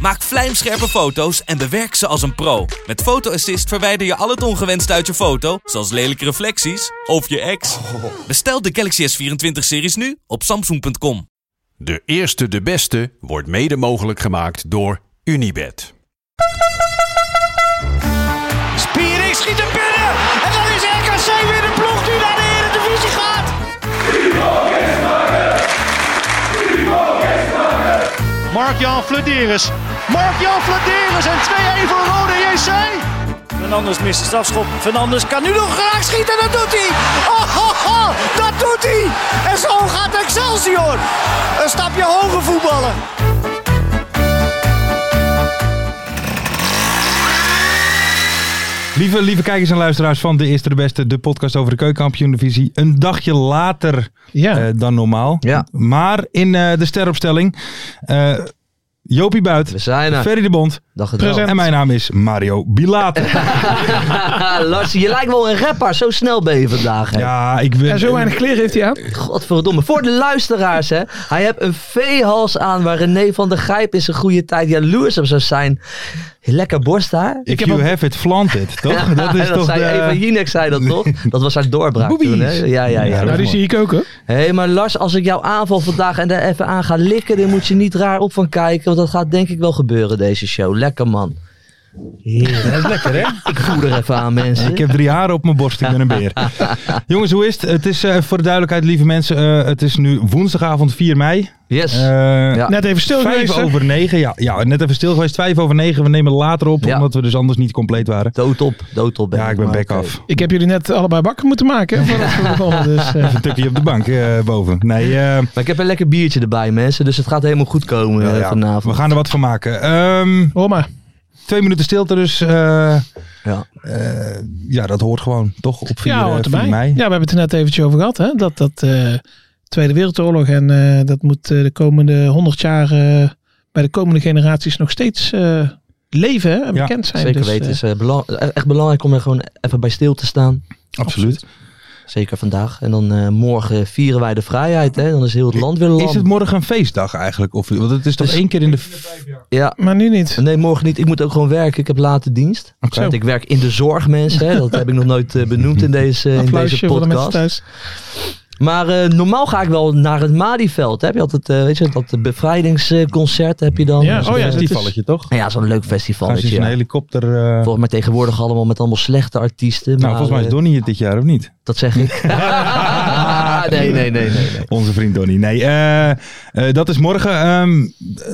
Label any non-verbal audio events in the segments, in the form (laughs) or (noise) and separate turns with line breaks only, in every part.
Maak vlijmscherpe foto's en bewerk ze als een pro. Met Photo Assist verwijder je al het ongewenst uit je foto, zoals lelijke reflecties of je ex. Bestel de Galaxy S24-series nu op Samsung.com.
De eerste de beste wordt mede mogelijk gemaakt door Unibed.
Spiering schiet hem binnen. En dan is RKC weer de ploeg die naar de Eredivisie gaat. Mark-Jan Flederis. Mark-Jan Flederis en 2-1 voor Rode JC. Fernandes mist de strafschop. Fernandes kan nu nog graag schieten. Dat doet hij. Oh, oh, oh, dat doet hij. En zo gaat Excelsior. Een stapje hoger voetballen.
Lieve, lieve kijkers en luisteraars van De Eerste de Beste, de podcast over de keukenkampioen-divisie. Een dagje later
Ja.
eh, dan normaal.
Ja.
Maar in eh, de steropstelling, eh, Jopie
We
Buit,
zijn er.
Ferry de Bond
Dag het wel.
en mijn naam is Mario
(laughs)
Bilater.
Ah, Lars, je lijkt wel een rapper. Zo snel ben je vandaag. Hè?
ja, ik wil...
En zo weinig kleren heeft hij aan.
Godverdomme. Voor de luisteraars, hè. Hij heeft een veehals aan waar René van der Gijp in zijn goede tijd jaloers op zou zijn. Lekker borsthaar.
If
Ik heb
you
al-
have (laughs) it, flaunt
(laughs)
it, toch?
Ja,
dat is toch
zei
de...
Eva Jinek zei dat toch?
(laughs)
Dat was haar doorbraak
Boobies.
toen, hè? Ja, ja, ja.
Ja,
Hé,
dat
Nou, die
is
zie ik ook hoor.
maar Lars, als ik jouw aanval vandaag en daar even aan ga likken, dan moet je niet raar op van kijken, want dat gaat denk ik wel gebeuren, deze show. Lekker, man. Heerlijk.
Dat is lekker, hè?
(laughs) Ik voer er even aan,
Ik
mensen.
heb drie haren op mijn borst, ik ben een beer.
(laughs)
Jongens, hoe is het? Het is eh, voor de duidelijkheid, lieve mensen, eh, het is nu woensdagavond 4 mei.
Yes.
Eh,
Ja.
Net even stil
Vijf
geweest. hè?
over negen, ja, ja. Net even stil geweest. Vijf over negen, we nemen later op,
Ja.
omdat we dus anders niet compleet waren.
Dood op, dood op.
Ja, ik ben
maar
back
oké.
af.
Ik heb jullie net allebei bakken moeten maken. hè, voordat (laughs) we begonnen, dus, eh.
Even een tukje op de bank eh, boven. Nee, eh,
Maar ik heb een lekker biertje erbij, mensen. Dus het gaat helemaal goed komen
ja,
eh,
ja. we
vanavond.
gaan er wat van maken. Ehm,
Hoor maar.
twee minuten stilte, dus eh,
Ja.
eh, ja, dat hoort gewoon toch op 4,
ja,
eh,
hoort erbij.
mei.
Ja, we hebben het er net eventjes over gehad. Hè? Dat dat eh, Tweede Wereldoorlog en eh, dat moet eh, de komende 100 jaar eh, bij de komende generaties nog steeds eh, leven hè, en
Ja,
bekend zijn.
Zeker
dus,
weten.
eh,
is eh, belang- e- echt belangrijk om er gewoon even bij stil te staan.
absoluut.
Zeker vandaag. En dan eh, morgen vieren wij de vrijheid. Hè? Dan is heel het land weer lam.
Is het morgen een feestdag eigenlijk? Of, want het is toch
Dus-
één keer in de...
Ja.
maar nu niet.
Nee, morgen niet. Ik moet ook gewoon werken. Ik heb late dienst.
Oké.
Want ik werk in de zorg, mensen. Hè? Dat heb ik nog nooit eh, benoemd in deze, in deze
Applausje voor de mensen
podcast.
thuis.
Maar eh, normaal ga ik wel naar het Malieveld. hè. Heb je altijd, eh, weet je, dat bevrijdingsconcert heb je dan.
Ja, oh ja, dat is-
festivalletje, toch?
ja zo'n leuk
Gaan ze
festivalletje.
in een
ja.
helikopter... eh, nou,
Volgens mij tegenwoordig allemaal met allemaal slechte artiesten. maar,
volgens mij is
eh,
Donnie het dit jaar, of niet?
Dat zeg ik.
(laughs)
Ah, nee, nee, nee, nee. nee.
Onze vriend Donnie. Nee, eh, eh, dat is morgen. ehm,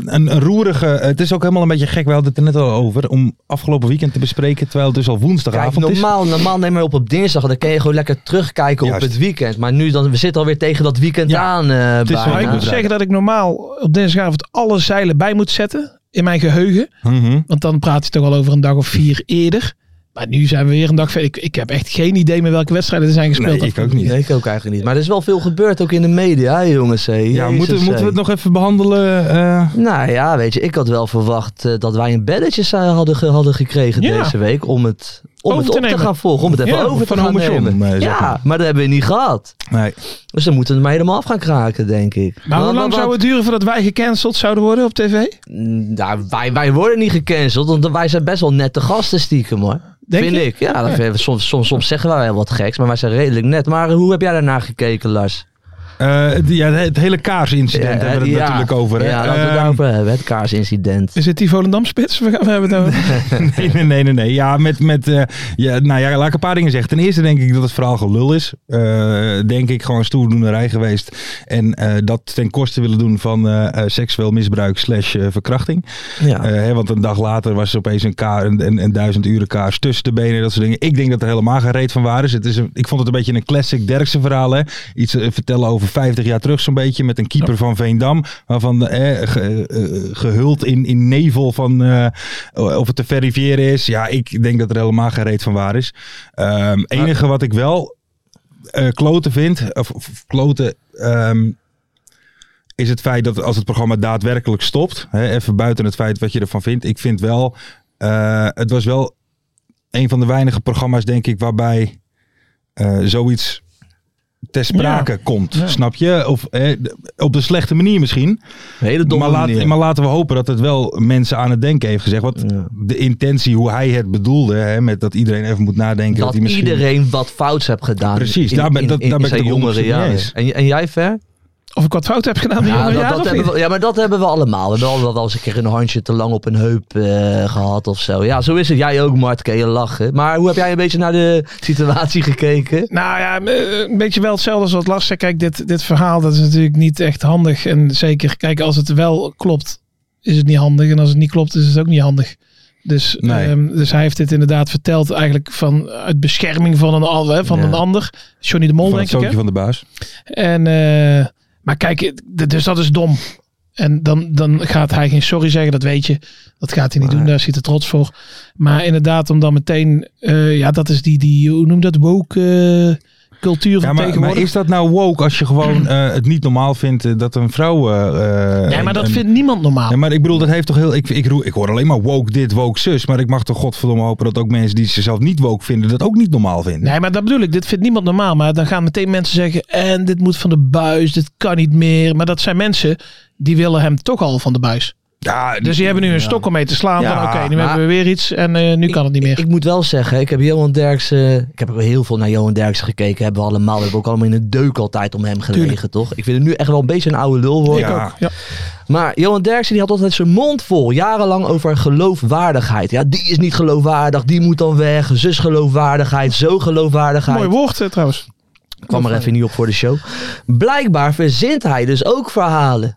een, een roerige. eh, Het is ook helemaal een beetje gek. We hadden het er net al over. Om afgelopen weekend te bespreken. Terwijl het dus al
Kijk,
woensdagavond is.
normaal, normaal nemen we op op dinsdag. en Dan kun je gewoon lekker terugkijken
Juist.
op het weekend. Maar nu dan, we zitten alweer tegen dat weekend
Ja,
aan. eh
is wel
Maar ik
bijna.
moet zeggen dat ik normaal op dinsdagavond alle zeilen bij moet zetten. In mijn geheugen.
Mhm.
Want dan praat je toch al over een dag of vier eerder. Maar nu zijn we weer een dag verder. Ik, ik heb echt geen idee meer welke wedstrijden er zijn
Nee,
gespeeld.
ik ook niet.
Nee, ik ook eigenlijk niet. Maar er is wel veel gebeurd ook in de media, hè, jongens. Hè.
Ja,
Jezus,
moeten, moeten we het
hè.
nog even behandelen? eh?
Nou ja, weet je, ik had wel verwacht eh, dat wij een belletje zou- hadden, ge- hadden gekregen
Ja.
deze week om het, om
Over
het
te
op te
nemen.
gaan volgen. Om het even
Ja,
over te
van
gaan
Home John,
nemen.
eh, zeg
ja,
maar.
maar dat hebben we niet gehad.
nee.
Dus dan moeten we hem helemaal af gaan kraken, denk ik.
Maar hoe
Want-
lang
want-
zou het duren voordat wij gecanceld zouden worden op tv?
Mm, Nou, wij, wij worden niet gecanceld, want wij zijn best wel nette gasten stiekem hoor.
Denk
Vind
je?
ik. Ja, dat vinden we- soms, soms, soms zeggen wij wel wat geks, maar wij zijn redelijk net. Maar hoe heb jij daarnaar gekeken, Lars? Eh,
Eh, het- ja, het hele kaarsincident hebben we het
ja.
natuurlijk over. hè.
Ja, laten we het
Ehm,
daarover hebben, het kaarsincident.
Is het die Volendam-spits? We gaan we hebben het over.
nee, nee, nee, nee, nee. Ja, met, met, eh, ja, nou ja, laat ik een paar dingen zeggen. Ten eerste denk ik dat het verhaal gelul is. Eh, denk ik gewoon stoerdoenerij geweest. En eh, dat ten koste willen doen van eh, eh, seksueel misbruik slash eh, verkrachting. Eh,
Ja.
hè, want een dag later was er opeens een, kaar, een, een, een duizend uren kaars tussen de benen. Dat soort dingen. Ik denk dat er helemaal geen reet van waar is. Het is een, ik vond het een beetje een classic Derksen verhaal. Hè? Iets eh, vertellen over 50 jaar terug zo'n beetje. Met een keeper van Veendam. Waarvan eh, ge- eh, gehuld in, in nevel van eh, of het te verifiëren is. Ja, ik denk dat er helemaal geen reet van waar is. Ehm enige wat ik wel eh kloten vind. Of, of kloten. ehm, is het feit dat als het programma daadwerkelijk stopt, hè, even buiten het feit wat je ervan vindt, ik vind wel, eh, het was wel een van de weinige programma's, denk ik, waarbij eh, zoiets ter sprake komt.
Ja.
Snap je? Of eh, op de slechte manier misschien.
Een hele domme
Maar, laat-
manier.
maar laten we hopen dat het wel mensen aan het denken heeft gezegd. Want
Ja.
de intentie, hoe hij het bedoelde, hè, met dat iedereen even moet nadenken. Dat,
dat
hij misschien...
iedereen wat fouts hebt gedaan.
Precies,
in,
daar ben-
in-
dat-
in-
daar
in
ben ik
zijn
het ook
jongere
niet mee
jaren.
eens.
En, en jij, Ver?
Of ik wat fout heb gedaan in de
Ja,
jongere
dat,
jaren
dat
of
hebben
niet?
we, ja, maar dat hebben we allemaal. We hebben allemaal wel eens een keer een handje te lang op een heup eh, gehad of zo. Ja, zo is het. Jij ook, Mart, kan je lachen. Maar hoe heb jij een beetje naar de situatie gekeken?
Nou ja, eh, een beetje wel hetzelfde als wat Lars zei. Kijk, dit, dit verhaal dat is natuurlijk niet echt handig. En zeker, kijk, als het wel klopt, is het niet handig. En als het niet klopt, is het ook niet handig. Dus,
Nee.
ehm, dus hij heeft dit inderdaad verteld eigenlijk van uit bescherming van een, al- hè, van
Ja.
een ander. Johnny de Mol,
Van het
denk
zootje
ik. Hè?
van de baas.
En, eh, maar kijk, eh, d- dus dat is dom. En dan, dan gaat hij geen sorry zeggen, dat weet je. Dat gaat hij niet doen, daar is hij te trots voor. Maar inderdaad, om dan meteen... eh, ja, dat is die, die hoe noem dat, woke eh, cultuur van
Ja, maar, maar
tegenwoordig.
is dat nou woke als je gewoon eh, het niet normaal vindt eh, dat een vrouw... eh, eh,
nee, maar dat
een-
vindt niemand normaal.
Ja, maar ik bedoel, dat heeft toch heel. Ik, ik, roe- ik hoor alleen maar woke dit, woke zus. Maar ik mag toch godverdomme hopen dat ook mensen die zichzelf niet woke vinden, dat ook niet normaal vinden.
Nee, maar dat bedoel ik. Dit vindt niemand normaal. Maar dan gaan meteen mensen zeggen... en dit moet van de buis, dit kan niet meer. Maar dat zijn mensen die willen hem toch al van de buis.
Ja,
Dus die hebben nu een stok om mee te slaan.
Ja,
van oké, nu
maar-
hebben we weer iets en eh, nu kan het niet meer.
Ik moet wel zeggen, ik heb Johan Derksen... Ik heb ook heel veel naar Johan Derksen gekeken. Hebben we allemaal. We hebben ook allemaal in de deuk altijd om hem gelegen, toch? Ik vind hem nu echt wel een beetje een oude lul worden.
Ja.
ja.
Maar Johan Derksen die had altijd zijn mond vol. Jarenlang over geloofwaardigheid. Ja, die is niet geloofwaardig. Die moet dan weg. Zus geloofwaardigheid. Zo geloofwaardigheid.
Mooi woord eh, trouwens.
kwam er
eh,
even niet op voor de show. Blijkbaar verzint hij dus ook verhalen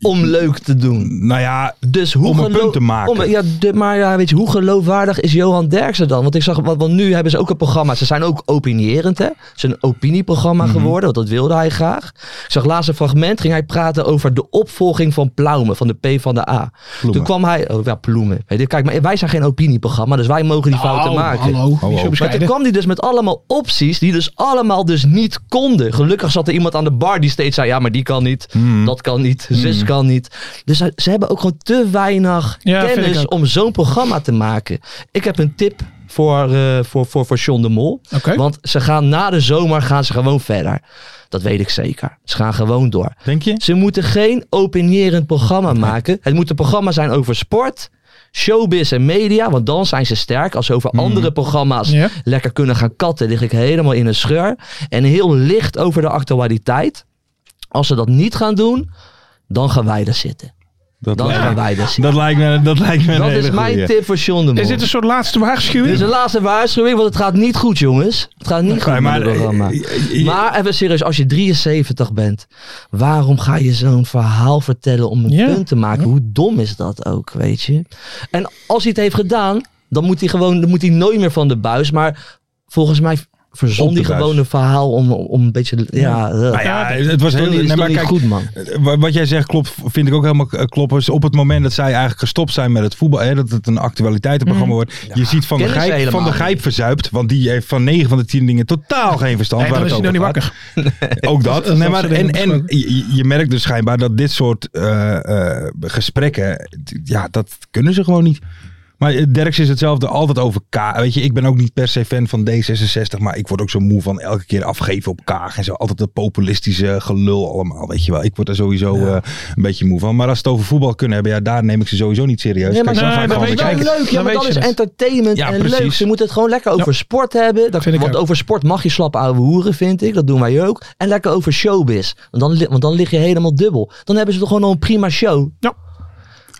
om leuk te doen.
Nou ja,
Dus hoe
Om een
gelo-
punt te maken.
om- ja, de- maar ja, weet je, hoe geloofwaardig is Johan Derksen dan? Want ik zag, want, want nu hebben ze ook een programma. Ze zijn ook opinierend, hè? Het is een opinieprogramma
Mhm.
geworden, want dat wilde hij graag. Ik zag laatst een fragment, ging hij praten over de opvolging van Ploumen, van de P van de A. Toen kwam hij, oh ja, Ploemen. Weet je, Kijk, maar wij zijn geen opinieprogramma, dus wij mogen die
Nou,
fouten
Oh,
maken.
Hallo, niet zo
Maar toen
bescheiden.
kwam hij dus met allemaal opties die dus allemaal dus niet konden. Gelukkig zat er iemand aan de bar die steeds zei, ja, maar die kan niet,
Hmm.
dat kan niet, zus kan niet. Dus hij- ze hebben ook gewoon te weinig
Ja, vind ik
kennis
ook.
om zo'n programma te maken. Ik heb een tip voor, eh, voor, voor, voor John de Mol.
Oké.
Want ze gaan na de zomer gaan ze gewoon verder. Dat weet ik zeker. Ze gaan gewoon door.
denk je?
Ze moeten geen opinierend programma maken. Het moet een programma zijn over sport, showbiz en media. Want dan zijn ze sterk. Als ze over
Hmm.
andere programma's
Ja.
lekker kunnen gaan katten, lig ik helemaal in een scheur. En heel licht over de actualiteit. Als ze dat niet gaan doen, dan gaan wij er zitten.
Dat,
Dan
lijkt,
gaan
me,
wij er zitten.
dat lijkt me. Dat lijkt me. een
Dat
hele
is mijn
goeie.
tip voor John de Mol.
Is dit een soort laatste
Dit
waarschuwing?
is de laatste waarschuwing, want het gaat niet goed, jongens. Het gaat niet goed
Nee,
met
maar,
het programma.
eh, eh,
Maar even serieus, als je 73 bent, waarom ga je zo'n verhaal vertellen om een
Ja.
punt te maken? Hoe dom is dat ook, weet je? En als hij het heeft gedaan, dan moet hij gewoon, dan moet hij nooit meer van de buis. Maar volgens mij
Op
verzon
de
hij
buis.
gewoon een verhaal om, om een beetje, ja, eh,
Nou ja, het was
is toch
heel.
niet, is
nee,
toch
maar
niet
kijk,
goed, man.
Eh, wa- Wat jij zegt klopt, vind ik ook helemaal eh, kloppen. Is op het moment dat zij eigenlijk gestopt zijn met het voetbal, hè, dat het een actualiteitenprogramma wordt. Je ziet van de,
kennen ze
gijp,
helemaal
van de
niet.
gijp verzuipt, want die heeft van 9 van de 10 dingen totaal geen verstand.
Nee,
waar
dan is
het
hij nog niet
over gaat.
wakker.
Ook dat.
dat
nee,
soort
maar,
dingen
en en
besproken.
je, je merkt dus schijnbaar dat dit soort eh, eh, gesprekken, t- ja, dat kunnen ze gewoon niet. Maar eh, Derks is hetzelfde altijd over K. Weet je, ik ben ook niet per se fan van D66, maar ik word ook zo moe van elke keer afgeven op Kaag en zo. Altijd dat populistische gelul allemaal, weet je wel. Ik word er sowieso eh, een beetje moe van. Maar als ze het over voetbal kunnen hebben, ja, daar neem ik ze sowieso niet serieus.
Nee, maar
Kijk,
nee,
dan ga ik
maar
gewoon
weet
weer kijken.
je-
Dat is leuk, ja,
Dan
maar
weet
dat
je
is
het.
entertainment
Ja,
en
precies.
leuk. Ze moeten het gewoon lekker over sport hebben. Dat,
Vind ik
want
ook.
over sport mag je slappe ouwe hoeren, vind ik. Dat doen wij ook. En lekker over showbiz. Want dan, li- want dan lig je helemaal dubbel. Dan hebben ze toch gewoon al een prima show.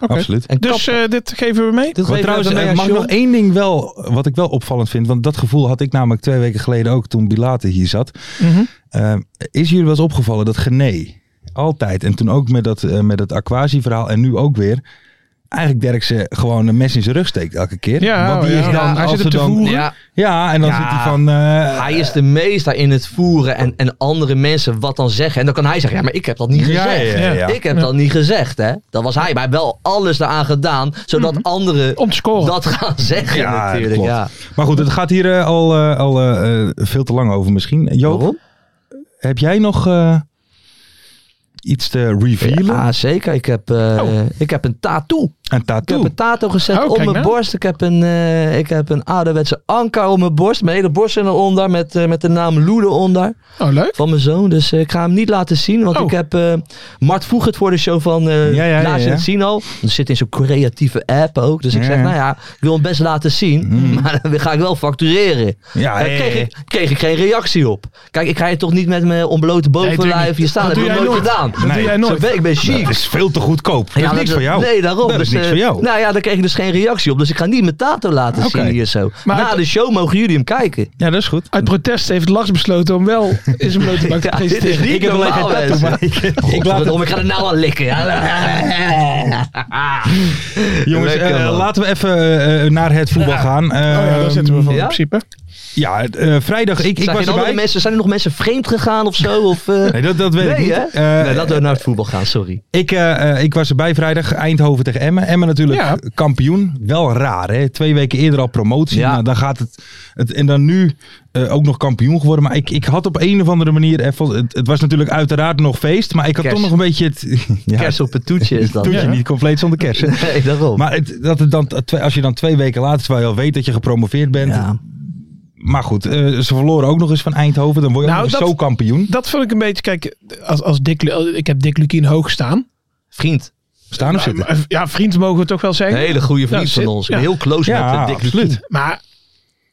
Oké.
Absoluut.
En
Dus
kap-
eh, dit geven we mee?
dit
Wat
geeft
trouwens,
even
eh,
een
mag ik
show.
nog één ding wel, wat ik wel opvallend vind. Want dat gevoel had ik namelijk twee weken geleden ook toen Bilate hier zat.
Mhm.
Eh, is jullie wel eens opgevallen dat Gené altijd, en toen ook met dat, eh, met dat Aquasi-verhaal en nu ook weer, eigenlijk Derksen gewoon een mes in zijn rug steekt elke keer?
Ja, oh
Want die
ja.
is dan,
Ja, hij
als
zit
er
hem te
dan,
voeren.
Ja,
Ja, en dan
Ja.
zit hij van... eh,
hij is de meester in het voeren en, en andere mensen wat dan zeggen. En dan kan hij zeggen, ja, maar ik heb dat
Ja,
niet gezegd.
ja, ja, ja.
Ik heb dat niet gezegd, hè. Dat was hij. Maar hij heeft wel alles eraan gedaan, zodat anderen
Mhm. Om te scoren.
dat gaan zeggen
Ja, dat
natuurlijk.
klopt.
Ja.
Maar goed, het gaat hier eh, al, eh, al eh, eh, veel te lang over misschien. Joop,
Waarom?
heb jij nog... eh, iets te revealen?
Ja, zeker. Ik heb, eh,
Oh.
ik heb een tattoo.
Een
Ik heb
tattoo.
een tato gezet
Oh,
op
kijk
mijn
nou.
borst. Ik heb, een, eh, ik heb een ouderwetse anker op mijn borst. Mijn hele borst en eronder met, eh, met de naam Loede onder.
Oh, leuk.
Van mijn zoon. Dus eh, ik ga hem niet laten zien. Want
Oh.
ik heb eh Mart vroeg het voor de show van eh
Ja, ja, ja,
Laat je
ja.
het zien al. Dat zit in zo'n creatieve app ook. Dus ik
Ja,
zeg,
ja.
nou ja, ik wil hem best laten zien.
Mm.
(laughs) Maar dan ga ik wel factureren.
Ja,
Ah,
Daar
ja,
kreeg,
ja.
ik, kreeg ik geen reactie op. Kijk, ik ga je toch niet met mijn ontblote
Nee,
bovenlijf
tuurlijk niet.
hier staan.
Dat
Dat heb
doe
ik
jij
nooit
nooit.
gedaan.
Dat doe
Nee.
jij
Zo,
nooit.
ben- ik ben chic.
Dat is veel te goedkoop. Dat is
Ja,
niks
dat-
voor jou.
Nee, daarom.
Dat is
Dus,
niks
eh,
voor jou.
Nou ja, daar kreeg ik dus geen reactie op. Dus ik ga niet mijn tato laten
Oké.
zien hier zo.
Maar
Na
het-
de show mogen jullie hem kijken.
Ja, dat is
Ah,
goed.
Uit protest heeft Lars besloten om wel in
(laughs)
zijn blote bak te
Ja, dit is
presenteren.
niet normaal, mensen. Oh,
Ik laat het,
Godverdomme, ik ga er nou al likken.
jongens,
Lekker,
eh,
man.
laten we even eh, eh, naar het voetbal gaan.
Oh ja, daar zitten we van
Ja,
Ja.
in principe.
eh, vrijdag. Ik, ik
zijn,
was
er
erbij.
mensen, zijn er nog mensen vreemd gegaan of
(laughs)
zo? Of, eh,
Nee, dat, dat weet ik
Nee,
niet.
hè?
Eh,
nee, laten we nou naar het voetbal gaan, sorry.
Ik, eh, eh, ik was erbij vrijdag, Eindhoven tegen Emmen. Emmen natuurlijk
Ja.
kampioen. Wel raar, hè? Twee weken eerder al promotie.
Ja.
Nou, dan gaat het, het... En dan nu eh, ook nog kampioen geworden. Maar ik, ik had op een of andere manier... even- Het, het was natuurlijk uiteraard nog feest. Maar ik had
Kerst.
toch nog een beetje het... (laughs) Ja,
Kers op het toetje
(laughs)
is dat.
doet je
Ja.
niet compleet zonder kerst. hè?
(laughs) Nee, daarom.
Maar het, dat het dan, twee- als je dan twee weken later, terwijl je al weet dat je gepromoveerd bent...
ja.
Maar goed, eh, ze verloren ook nog eens van Eindhoven. Dan word je
Nou,
ook nog
dat-
eens zo kampioen.
Dat vond ik een beetje, kijk, als, als Dick, Lu- oh, ik heb Dick Lukien hoog staan.
Vriend.
Staan of
Nou, Maar-
zitten?
maar- Ja, vriend mogen we toch wel
Een
zeggen.
hele goede
Ja,
vriend
zit-
van ons.
ja.
Heel close met
Ja,
eh, Dick Lukien.
absoluut.
Maar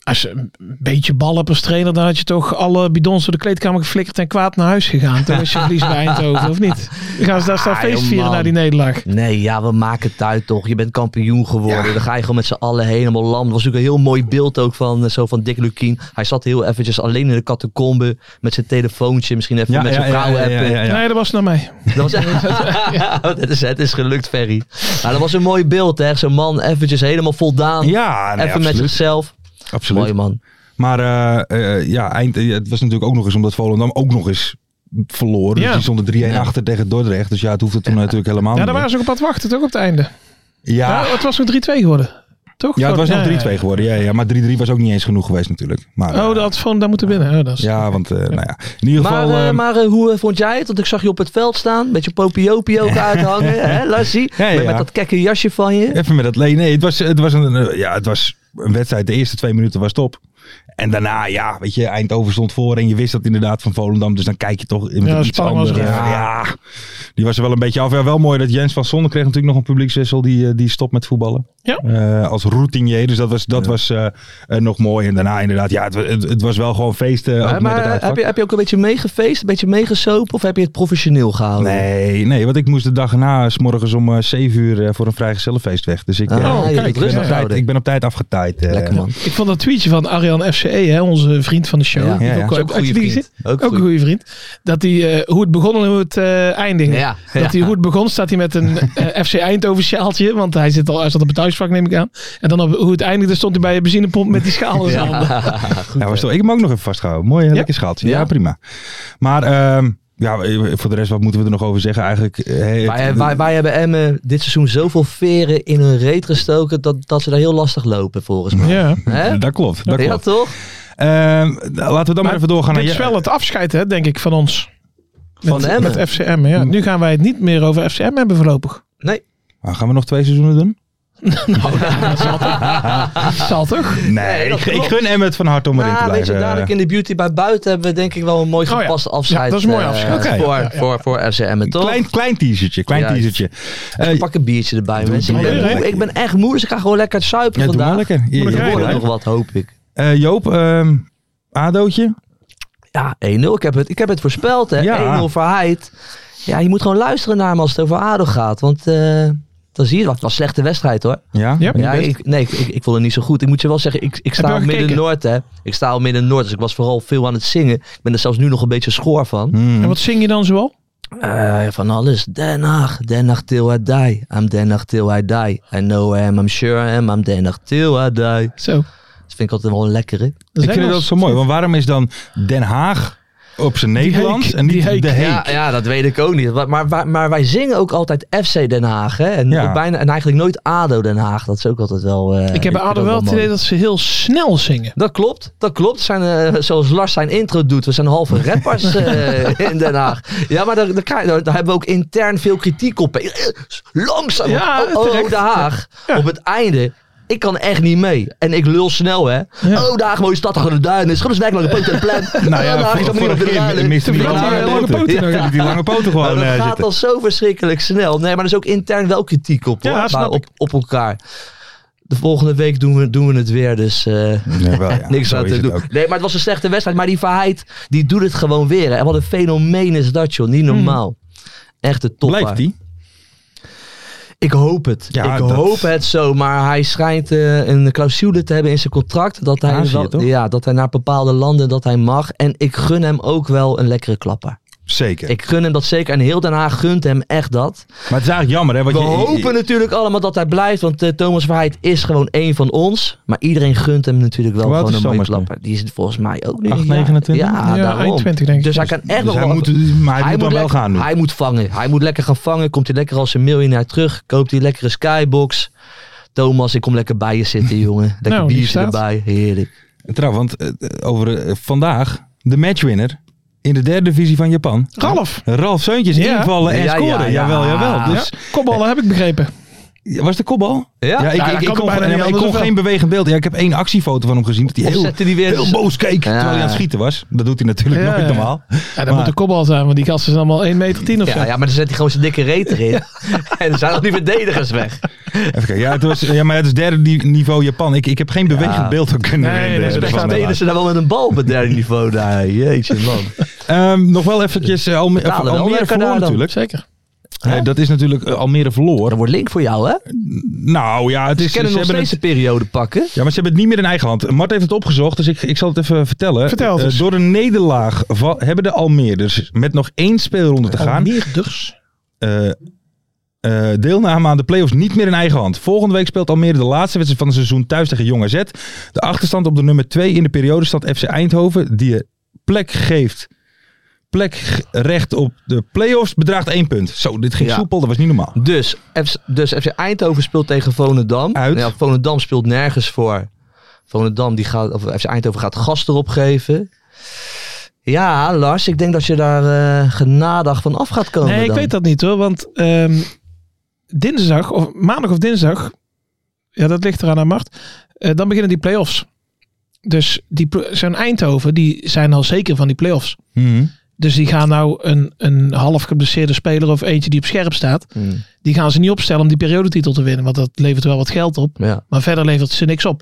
als je een beetje bal hebt als trainer, dan had je toch alle bidons door de kleedkamer geflikkerd en kwaad naar huis gegaan. Toen was je verlies bij Eindhoven, of niet? Dan gaan ze daar staan
Ah,
feest
joh,
vieren
man.
na die nederlaag.
Nee, ja, we maken het uit toch. Je bent kampioen geworden. Dan ga je gewoon met z'n allen helemaal lam. Er was natuurlijk een heel mooi beeld ook van, eh, zo van Dick Lukien. Hij zat heel eventjes alleen in de catacombe met zijn telefoontje. Misschien even met eh, zijn vrouw appen.
Nee, dat was nou naar mij.
Dat was,
(laughs)
(laughs) het, is, het is gelukt, Ferry. Maar dat was een mooi beeld, hè. Zo'n man eventjes helemaal voldaan.
Ja, nee,
even met
absoluut.
zichzelf.
absoluut.
Mooi man.
Maar eh, eh, ja, eind, eh, het was natuurlijk ook nog eens omdat Volendam ook nog eens verloren. Dus
Ja.
die stonden 3-1 achter tegen Dordrecht. Dus ja, het hoefde toen natuurlijk helemaal
Ja,
niet
daar waren ze ook op aan het wachten, toch op het einde.
meer.
Ja.
Ja,
het was nog 3-2 geworden, toch?
ja, het was
Ja,
nog 3-2
ja.
geworden. Ja, ja, maar 3-3 was ook niet eens genoeg geweest natuurlijk. Maar, eh,
Oh, dat had Volendam moeten winnen. Oh, dat is-
Ja, want eh, nou ja. In ieder
Maar,
geval...
eh,
eh,
maar eh, hoe eh, vond jij het? Want ik zag je op het veld staan. Beetje
(laughs)
popiopio uithangen, hè, Lassie?
Ja, ja,
Met, met
ja.
dat kekke jasje van je.
Even met dat leen. Nee, het was, het was, een, eh, ja, het was een wedstrijd. De eerste twee minuten was top. En daarna, ja, weet je, Eindhoven stond voor. En je wist dat inderdaad van Volendam. Dus dan kijk je toch in
Ja,
ja, iets
spanning was
anders.
er,
Ja.
ja.
die was er wel een beetje af. Ja, wel mooi dat Jens van Zonne kreeg natuurlijk nog een publiekswissel. Die, eh, die stopt met voetballen.
Ja.
Eh, als routinier. Dus dat was, dat was eh, eh, nog mooi. En daarna inderdaad, ja, het, wa- het, het was wel gewoon feesten. ook
Maar,
met het
maar,
uitvak.
heb, je, heb je ook een beetje meegefeest, een beetje meegesopen of heb je het professioneel gehouden?
Nee, nee, want ik moest de dag erna, s morgens om eh, 7 uur, eh, voor een vrijgezellenfeest weg. Dus ik, eh,
Ah, je hebt
kijk,
het
ik, ben
rustig
op tijd,
gehouden.
ik ben op tijd afgetaaid. eh.
Lekker man.
Ik vond dat tweetje van Arjan FCE, hè, onze vriend van de show.
Ja.
die
Ja, ja.
ook,
Is ook
uit
een goede
Utrecht
vriend.
zit.
Ook
Ook een
goed.
goede vriend. Dat hij, eh, hoe het begon en hoe het eh eindigde.
Ja, ja.
Dat hij, hoe het begon staat hij met
(laughs)
een eh, FC Eindhoven sjaaltje. Want hij zit al, hij zat op het thuisvak neem ik aan. En dan op, hoe het eindigde stond hij bij een benzinepomp met die schaal in zijn handen.
(laughs) Ja, was toch, ik heb hem ook nog even vastgehouden. Mooi, lekker schaaltje. Ja,
Ja.
prima. Maar ehm, ja, voor de rest, wat moeten we er nog over zeggen eigenlijk? eh, het-
Wij, wij, wij hebben Emmen dit seizoen zoveel veren in hun reet gestoken dat, dat ze daar heel lastig lopen volgens mij.
Ja.
Hè?
dat klopt, (laughs) dat
Ja,
klopt.
toch?
Ehm, nou, laten we dan maar,
Maar
even doorgaan
Dit
naar
is wel het afscheid, hè, denk ik, van ons.
Van
met,
Emmen.
Met FCM, ja. Nu gaan wij het niet meer over FCM hebben
(laughs)
voorlopig.
Nee.
Ah, gaan we nog twee seizoenen doen?
Ah,
Zal toch?
Nee,
dat
ik, ik
klopt.
gun hem het van harte om erin te
Nou, weet
blijven. eh.
je, dadelijk in de beauty bij buiten hebben we denk ik wel een mooi
Oh ja.
gepast
Ja,
afscheid.
dat is een mooi
eh,
afscheid.
Oké.
voor,
Ja, ja, ja.
voor, voor FC Emmen, toch?
Klein, klein teasertje, klein
Ja,
teasertje. Eh,
Pak een biertje erbij, mensen. Ik
doe
ben,
maar.
moe, ik ben echt moe, dus ik ga gewoon lekker suipen
ja, doe maar
vandaag.
lekker. Je-
Moet ik
je
Er
rijden,
wordt het.
wordt nog wat, hoop ik.
Eh, Joop, ehm, Adootje?
Ja, 1-0. Ik, heb het- ik heb het voorspeld, hè.
Ja.
1-0 voor Heid. Ja, je moet gewoon luisteren naar hem als het over ADO gaat. Want eh, dan zie je wat. Het was een slechte wedstrijd, hoor.
Ja?
Ja.
Niet
Ja,
best?
ik, nee, ik, ik, ik vond het niet zo goed. Ik moet je wel zeggen, ik, ik
Heb
sta
je
op
al gekeken?
Midden-Noord, hè. Ik sta op Midden-Noord, dus ik was vooral veel aan het zingen. Ik ben er zelfs nu nog een beetje schoor van.
Hmm.
En wat zing je dan zoal?
Eh, van alles. Den Haag, Den Haag till I die. I'm Den Haag till I die. I know I am, I'm sure I am. I'm Den Haag till I die.
Zo.
Dat vind ik altijd wel een lekkere.
Ik vind dat zo mooi, want waarom is dan Den Haag op zijn Nederlands
Heek,
en niet
die Heek.
de Heek.
Ja, ja, dat weet ik ook niet. Maar, maar, maar- maar wij zingen ook altijd FC Den Haag. Hè? En,
Ja.
bijna, en eigenlijk nooit ADO Den Haag. Dat is ook altijd wel... eh,
Ik heb bij
vind
Ado
dat
wel het
mooi.
idee dat ze heel snel zingen.
Dat klopt, dat klopt. Zijn, eh, zoals Lars zijn intro doet, we zijn halve
(laughs)
rappers eh, in Den Haag. Ja, maar daar, daar, krijg- daar- daar hebben we ook intern veel kritiek op. Eh, Langzaam,
Ja,
oh, oh,
terecht.
Den Haag, op het einde. Ik kan echt niet mee. En ik lul snel, hè.
Ja.
Oh, Den Haag, mooie stad, daar gaan we de duinen. Schap eens weg, lange poot en plan. Oh,
Nou ja,
ik
voor,
niet op
vorige
de
keer
duinen.
miste hij die
Ja,
lange
ja, lange
poten.
poten.
Ja, die lange poten
Maar
gewoon
dat
eh,
gaat
zitten.
al zo verschrikkelijk snel. Nee, maar er is ook intern wel kritiek op,
Ja,
hoor,
snap
bij-
ik.
op, op elkaar. De volgende week doen we, doen we het weer, dus... eh,
Ja, wel, ja,
(laughs) niks
zo
aan
is
te
het
doen.
ook.
Nee, maar het was een slechte wedstrijd. Maar die Verheid, die doet het gewoon weer. Hè. En wat een fenomeen is dat, joh. Niet normaal. Echt de top.
Hmm. Blijft die?
Ik hoop het.
Ja,
ik
dat-
hoop het zo. Maar hij schijnt eh, een clausule te hebben in zijn contract. Dat hij,
Azië,
wel-
toch?
ja, dat hij naar bepaalde landen dat hij mag. En ik gun hem ook wel een lekkere klapper.
Zeker.
Ik gun hem dat zeker. En heel Den Haag gunt hem echt dat.
Maar het is eigenlijk jammer, hè? Want
We
je,
hopen natuurlijk allemaal dat hij blijft. Want eh, Thomas Verheid is gewoon één van ons. Maar iedereen gunt hem natuurlijk wel
Hoe oud
gewoon
is
een mooie
Thomas nu?
klapper. Die is volgens mij ook nu.
8,
ja,
29?
Ja,
Ja,
daarom.
21 denk ik.
Dus hij kan echt
dus
nog
hij
wel...
moet, maar hij, moet dan wel
lekker-
gaan nu.
Hij moet vangen. Hij moet lekker gaan vangen. Komt hij lekker als een miljonair terug. Koopt hij lekkere skybox. Thomas, ik kom lekker bij je
(laughs)
zitten, jongen. Lekker
Nou, die
biertje
staat.
erbij. Heerlijk.
En Trouwens, want eh, eh, over eh, vandaag de matchwinner in de derde divisie van Japan.
Ralf.
Ralf Zeuntjes
Ja.
invallen en
Ja, ja,
scoren.
ja.
Jawel, jawel. Dus,
ja. Kopballen heb ik begrepen.
ja, Was de kopbal?
Ja.
ik,
Ja,
ik,
dat
ik
kan
kon,
bijna
nee, maar
niet
ik
anders
kon
wel.
geen bewegend beeld. Ja, ik heb één actiefoto van hem gezien. Dat hij
Of
heel,
zette die weer...
heel boos keek
Ja.
terwijl hij aan het schieten was. Dat doet hij natuurlijk
Ja,
nooit
ja.
normaal.
Ja, dat
Maar-
moet een kopbal zijn, want die gasten zijn allemaal 1 meter 10 of zo.
Ja, ja, maar dan zet hij gewoon zijn dikke reet
(laughs)
erin. en dan zijn al die verdedigers weg.
Even kijken. Ja, het was, ja, maar het is derde ni- niveau Japan. Ik, ik heb geen bewegend beeld van kunnen
Nee,
vinden,
nee, ze
eh, van
staan
Nederland.
Spelen ze dan wel met een bal op het derde niveau daar. (laughs) Jeetje, man.
Ehm, nog wel eventjes eh, Alme-
Betalen wel
Almere
lekker daar
verloren
dan.
natuurlijk.
Zeker.
Eh, dat is natuurlijk eh, Almere
Dat
verloren.
wordt link voor jou, hè?
Dus
Nou ja, het
Ze
is,
kennen nog
hebben
steeds
het,
de periode pakken.
ja, maar ze hebben het niet meer in eigen hand. Mart heeft het opgezocht, dus ik, ik zal het even vertellen.
Vertel het
Eh,
eens.
door een nederlaag va- hebben de Almeerders met nog één speelronde te gaan...
dus.
Almeerders.
eh, eh, deelname aan de play-offs niet meer in eigen hand. Volgende week speelt Almere de laatste wedstrijd van het seizoen thuis tegen Jong AZ. De achterstand op de nummer 2 in de periode staat FC Eindhoven, die je plek geeft. Plek g- recht op de play-offs bedraagt één punt. Zo, dit ging
Ja.
soepel, dat was niet normaal.
Dus, F- dus FC Eindhoven speelt tegen Volendam. Nou
Uit.
Ja, Volendam speelt nergens voor. Volendam die gaat, of FC Eindhoven gaat gas erop geven. Ja, Lars, ik denk dat je daar eh, genadig van af gaat komen.
Nee, ik
dan.
weet dat niet hoor, want ehm, dinsdag, of maandag of dinsdag, ja dat ligt eraan aan Mart, eh, dan beginnen die play-offs. Dus die pl- zo'n Eindhoven, die zijn al zeker van die play-offs.
Mhm.
Dus die gaan nou een, een half geblesseerde speler of eentje die op scherp staat,
Hmm,
die gaan ze niet opstellen om die periodetitel te winnen, want dat levert wel wat geld op.
ja.
Maar verder levert ze niks op.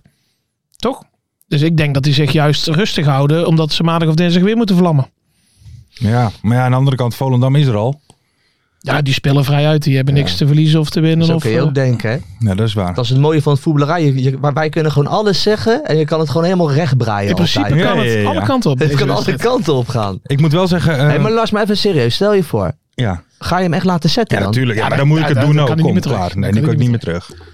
Toch? Dus ik denk dat die zich juist rustig houden, omdat ze maandag of dinsdag weer moeten vlammen.
Ja, maar ja, aan de andere kant, Volendam is er al.
Ja, die spelen vrij uit. Die hebben niks te verliezen of te winnen.
Zo
of,
kun je
eh,
ook denken, hè?
Ja, dat is waar.
Dat is het mooie van het voetballerij. Je- je- maar wij kunnen gewoon alles zeggen en je kan het gewoon helemaal recht breien.
in principe
altijd. (laughs)
Ja,
kan het
ja, ja, ja.
alle kanten op.
Het
deze
kan alle
wedstrijd.
kanten op gaan.
Ik moet wel zeggen... eh,
Hé, maar Lars, maar even serieus. Stel je voor,
ja.
ga je hem echt laten zetten
ja,
dan?
natuurlijk. Ja,
Ja,
maar
dan-
dan moet ik
ja,
het
dan-
doen
dan kan
ook. Kom,
hij niet meer terug.
klaar. Nee,
Dan
die
kan
kan ik
hij
niet
niet
meer terug.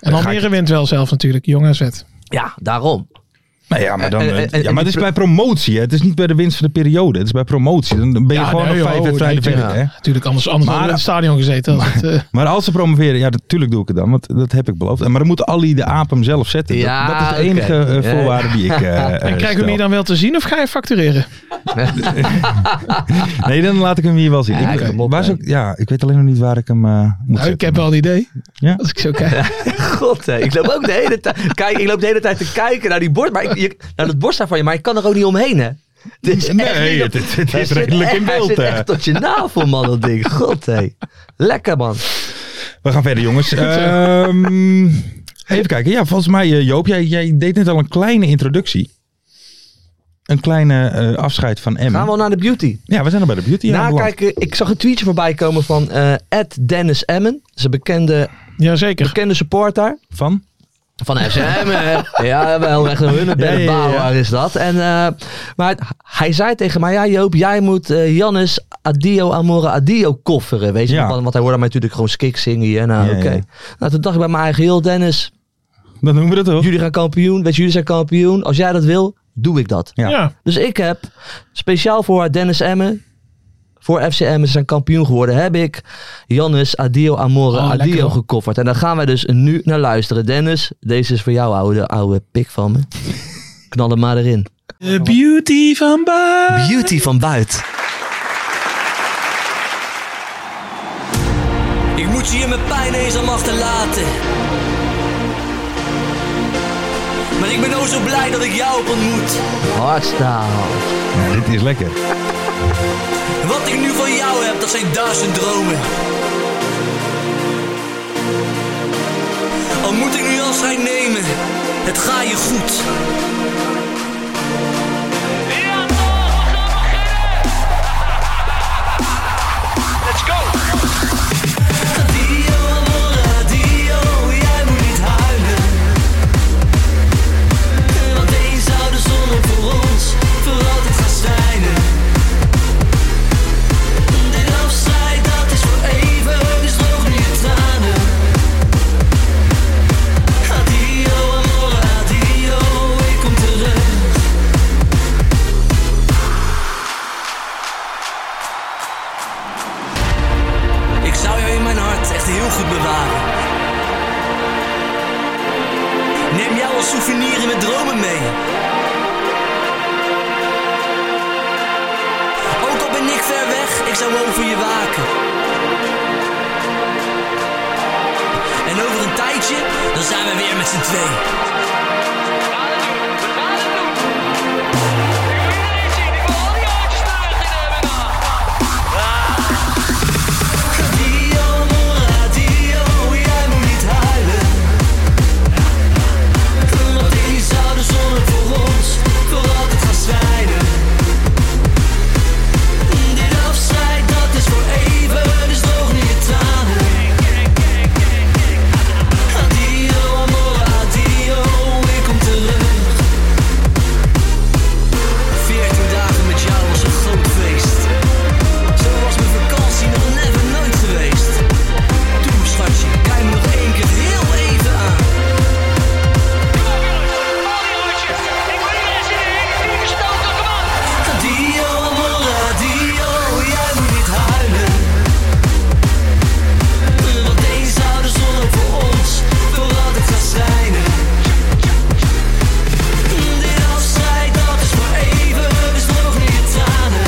En
Dan ga
Almere wint wel zelf natuurlijk. Jong AZ.
Ja, daarom.
Nou ja, maar, dan,
En- en- en-
ja, maar het is bij promotie. Hè. Het is niet bij de winst van de periode. Het is bij promotie. Dan ben je
Ja,
gewoon
nee,
nog vijf
joh,
wedstrijden
nee,
verder. Hè.
Natuurlijk, anders, anders
Maar-
hadden we in het stadion gezeten. als het, eh,
Maar als ze promoveren, ja, natuurlijk doe ik het dan. Want dat heb ik beloofd. En Maar dan moet Ali de aap hem zelf zetten. Dat-
Ja,
dat, is
oké.
de enige eh,
Ja.
voorwaarde die ik
(laughs)
eh, eh,
en (laughs) krijgen
stel.
we die dan wel te zien of ga je factureren?
Nee, dan laat ik hem hier wel zien.
Ja,
ik,
kom op,
waar zou ik- ja, ik weet alleen nog niet waar ik hem eh, moet
Nou,
zetten.
ik heb wel een idee.
Ja?
Als ik zo kijk.
God, hè. ik loop ook de hele tijd. Kijk, ik loop de hele tijd te kijken naar die bord, maar ik, je- naar dat borst daarvan je, maar ik kan er ook niet omheen, hè? Dus (laughs)
Nee, het, het- het is redelijk in beeld.
Zit
eh.
echt tot je navel, man, dat ding. God, hé. Lekker, man.
Hm. We gaan verder, jongens. Ehm, even kijken. Ja, volgens mij, eh, Joop, jij, jij deed net al een kleine introductie. Een kleine eh, afscheid van Emma.
Gaan we Nou, al naar de beauty.
Ja, we zijn nog bij de beauty. aanbeland.
Nakijken, ik zag een tweetje voorbij komen van eh Dennis Emmen. Dat is een bekende,
Jazeker.
bekende supporter.
Van?
Van SM, hè? (laughs) Ja, wel echt een hunnebed
Ja, ja, ja, ja.
bouwer is dat. En, eh, maar het- hij zei tegen mij, ja Joop, jij moet eh Jannes Adio Amore Adio kofferen. Weet je,
Ja.
want, want hij hoorde mij natuurlijk gewoon skik zingen hier. Nou,
Ja,
oké.
ja.
Nou, toen dacht ik bij mijn eigen heel Dennis,
Dan noemen we dat toch?
jullie gaan kampioen. Weet je, jullie zijn kampioen. Als jij dat wil, doe ik dat.
Ja.
Ja. ja.
Dus ik heb speciaal voor Dennis Emmen, voor FC Emmen, ze zijn kampioen geworden, heb ik Jannes Adio Amore
Oh,
Adio
lekker, hoor.
gekofferd. En daar gaan wij dus nu naar luisteren. Dennis, deze is voor jou, oude, oude pik van
(laughs)
me. Knal hem maar erin.
De beauty van Baar.
Beauty van buiten.
Ik moet je hier met pijn eens aan achterlaten. Maar ik ben ook zo blij dat ik jou heb ontmoet.
Hardstyle.
Ja, dit is lekker.
Wat ik nu van jou heb, dat zijn duizend dromen. Al moet ik nu afscheid nemen, het ga je goed. Adio, amore, adio, jij moet niet huilen. Want eens zou de zon ook voor ons voor altijd gaan schijnen. Dit afscheid dat is voor even, dus droog nu je tranen. Adio, amore, adio, ik kom terug. Ik zou jou in mijn hart echt heel goed bewaren. Neem jou als souvenir in mijn dromen mee. Ook al ben ik ver weg, ik zou over je waken. En over een tijdje, dan zijn we weer met z'n twee. Adio, amore, adio, jij moet niet huilen. Want eens zou de zon er voor ons voor altijd gaan schijnen. Dit afscheid, dat is voor even, dus droog nu je tranen. Adio, amore, adio, ik kom terug. Veertien dagen met jou was een groot feest. Zo was mijn vakantie nog never nooit geweest. Toen schatje, kijk me nog één keer heel even aan. Adio, amore, adio, jij moet niet huilen. Want eens zou de zon ook voor ons voor altijd gaan schijnen. Dit afscheid, dat is voor even, dus nog niet je tranen.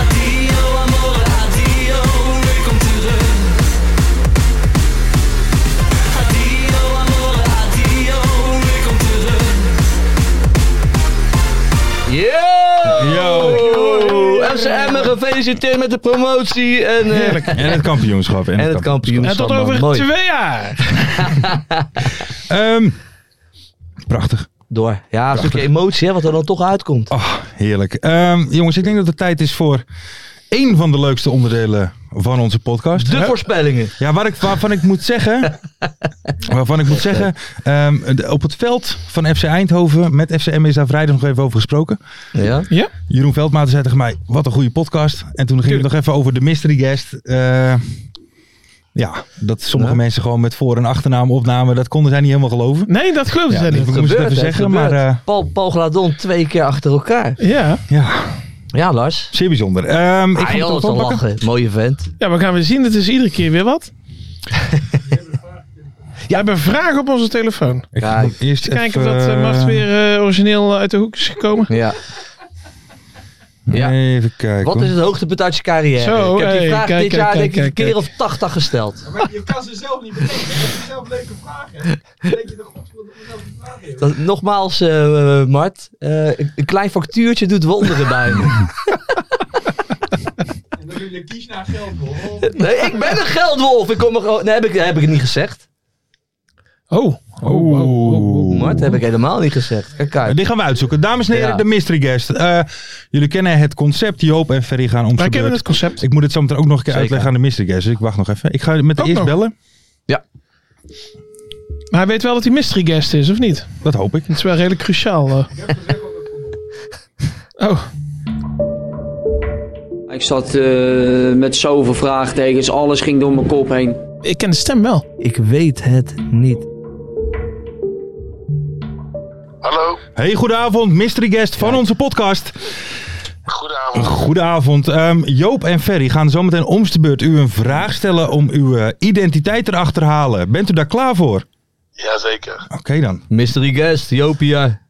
Adio, amore, adio, ik kom terug. Adio, amore, adio, ik kom terug.
Yo!
Yo!
FC Emmen, gefeliciteerd met de promotie. En, eh,
En het kampioenschap.
en het kampioenschap.
En tot
man.
over
Mooi.
twee jaar.
Ehm, prachtig.
Door. Ja, een stukje emotie, hè, wat er dan toch uitkomt.
Oh, heerlijk. Ehm, jongens, ik denk dat het tijd is voor één van de leukste onderdelen van onze podcast.
De
Hè?
voorspellingen.
Ja, waar ik, waarvan ik moet zeggen. waarvan ik moet zeggen. ehm, de- op het veld van FC Eindhoven met FCM is daar vrijdag nog even over gesproken.
Ja.
Ja.
Jeroen Veldmaat zei tegen mij: Wat een goede podcast. En toen ging het nog even over de mystery guest. Eh, ja, dat sommige
Ja.
mensen gewoon met voor- en achternaam opnamen. Dat konden zij niet helemaal geloven.
Nee, dat geloof
Ja,
ik ja,
dat
niet.
Ik moest het
Gebeurt,
even
hè,
zeggen,
gebeurt.
maar, eh,
Paul, Paul Gladon twee keer achter elkaar.
Ja.
Ja,
Ja, Lars.
zeer bijzonder. Ehm, ik
Ah,
ga
joh,
het
zal
wel pakken.
lachen. Mooie vent.
ja, we gaan weer zien. Het is iedere keer weer
(laughs)
wat. Ja, we hebben vragen op onze telefoon.
Ik
Ja,
moet eerst
Kijken of
even,
dat eh, Mart weer eh, origineel uit de hoek is gekomen.
Ja. Ja.
Even kijken.
Wat
hoor.
is het hoogtepunt uit je carrière?
Zo,
ik heb die
hey,
vraag
kijk,
dit
kijk,
jaar
kijk,
denk ik een
kijk,
keer
kijk.
of tachtig gesteld.
Je kan ze zelf niet bedenken. Dat zijn zelf leuke vragen. Dan denk je de godverdomme zelf niet vragen. joh.
Dat, nogmaals, eh, eh, Mart. eh, een, een klein factuurtje doet wonderen bij me.
En dan wil je kies naar geld hoor.
Nee, ik ben een geldwolf. Ik kom er gewoon... Nee, heb ik, heb ik het niet gezegd.
Oh. Oh, oh, oh, oh.
Mart, heb ik helemaal niet gezegd. Kijk,
Eh,
kijk.
Die gaan we uitzoeken. Dames en heren,
Ja.
de mystery guest. Eh, jullie kennen het concept. Joop en Ferry gaan om
Wij
zijn
kennen
beurt.
het concept.
Ik moet het zo meteen ook nog een keer
Zeker.
uitleggen aan de mystery guest. Dus ik wacht nog even. Ik ga met de
Ook
eerst
nog.
bellen.
Maar hij weet wel dat hij mystery guest is, of niet?
Dat hoop ik.
Dat is wel redelijk cruciaal. eh. Oh,
Ik zat eh, met zoveel vraagtekens, alles ging door mijn kop heen.
ik ken de stem wel.
Ik weet het niet.
Hey, goedenavond, mystery guest van onze podcast.
Goedenavond.
Goedenavond. Ehm, Joop en Ferry gaan zometeen omste beurt u een vraag stellen om uw eh, identiteit erachter te halen. Bent u daar klaar voor?
Jazeker.
Oké dan.
Mystery guest, Jopia.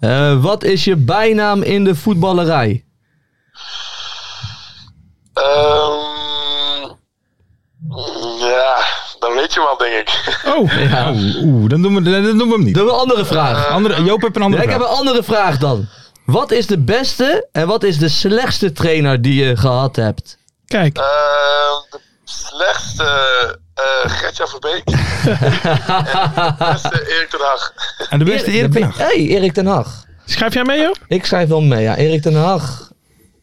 Eh, wat is je bijnaam in de voetballerij?
Ehm ja, dan weet je wel, denk ik.
Oh, oeh, oeh, dan, doen we, dan doen we hem niet.
Doe een andere vraag.
Andere, Joop heeft een
Ja,
Eh, andere
ik heb een
vraag.
andere vraag dan. Wat is de beste en wat is de slechtste trainer die je gehad hebt?
Kijk,
Ehm de slechtste eh Gertja Verbeek. en de beste Erik ten Hag.
En de beste Erik ten Hag.
Hé, hey, Erik ten Hag.
schrijf jij mee, joh?
Ik schrijf wel mee, ja. Erik ten Hag.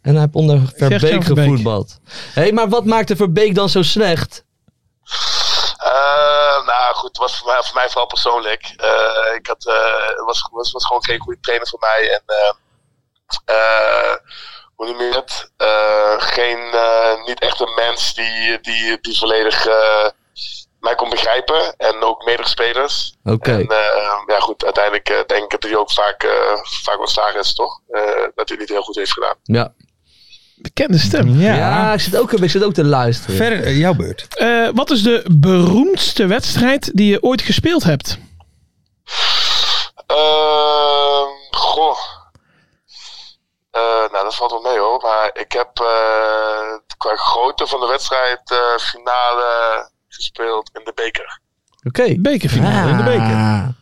En hij heeft onder Verbeek
Verbeek.
gevoetbald. Hé, hey, maar wat maakte Verbeek dan zo slecht?
Eh, nou goed, het was voor mij, voor mij vooral persoonlijk. Eh, ik had, eh, het was, was, was gewoon geen goede trainer voor mij. En, eh, eh, hoe noem je het? Eh, geen, eh, niet echt een mens die, die, die volledig eh, mij kon begrijpen. En ook medespelers.
Oké.
En eh, ja, goed, uiteindelijk eh, denk ik dat hij ook vaak, eh, vaak ontslagen is, toch? Eh, dat hij niet heel goed heeft gedaan.
Ja.
Bekende stem.
Ja.
Ja.
ik zit ook, ik zit ook te luisteren.
Ver, eh, jouw beurt.
Eh, wat is de beroemdste wedstrijd die je ooit gespeeld hebt?
Ehm, goh. Eh, nou, dat valt wel mee hoor. Maar ik heb eh, qua grootte van de wedstrijd eh, finale gespeeld in de beker.
Oké.
Ah.
Bekerfinale in de beker.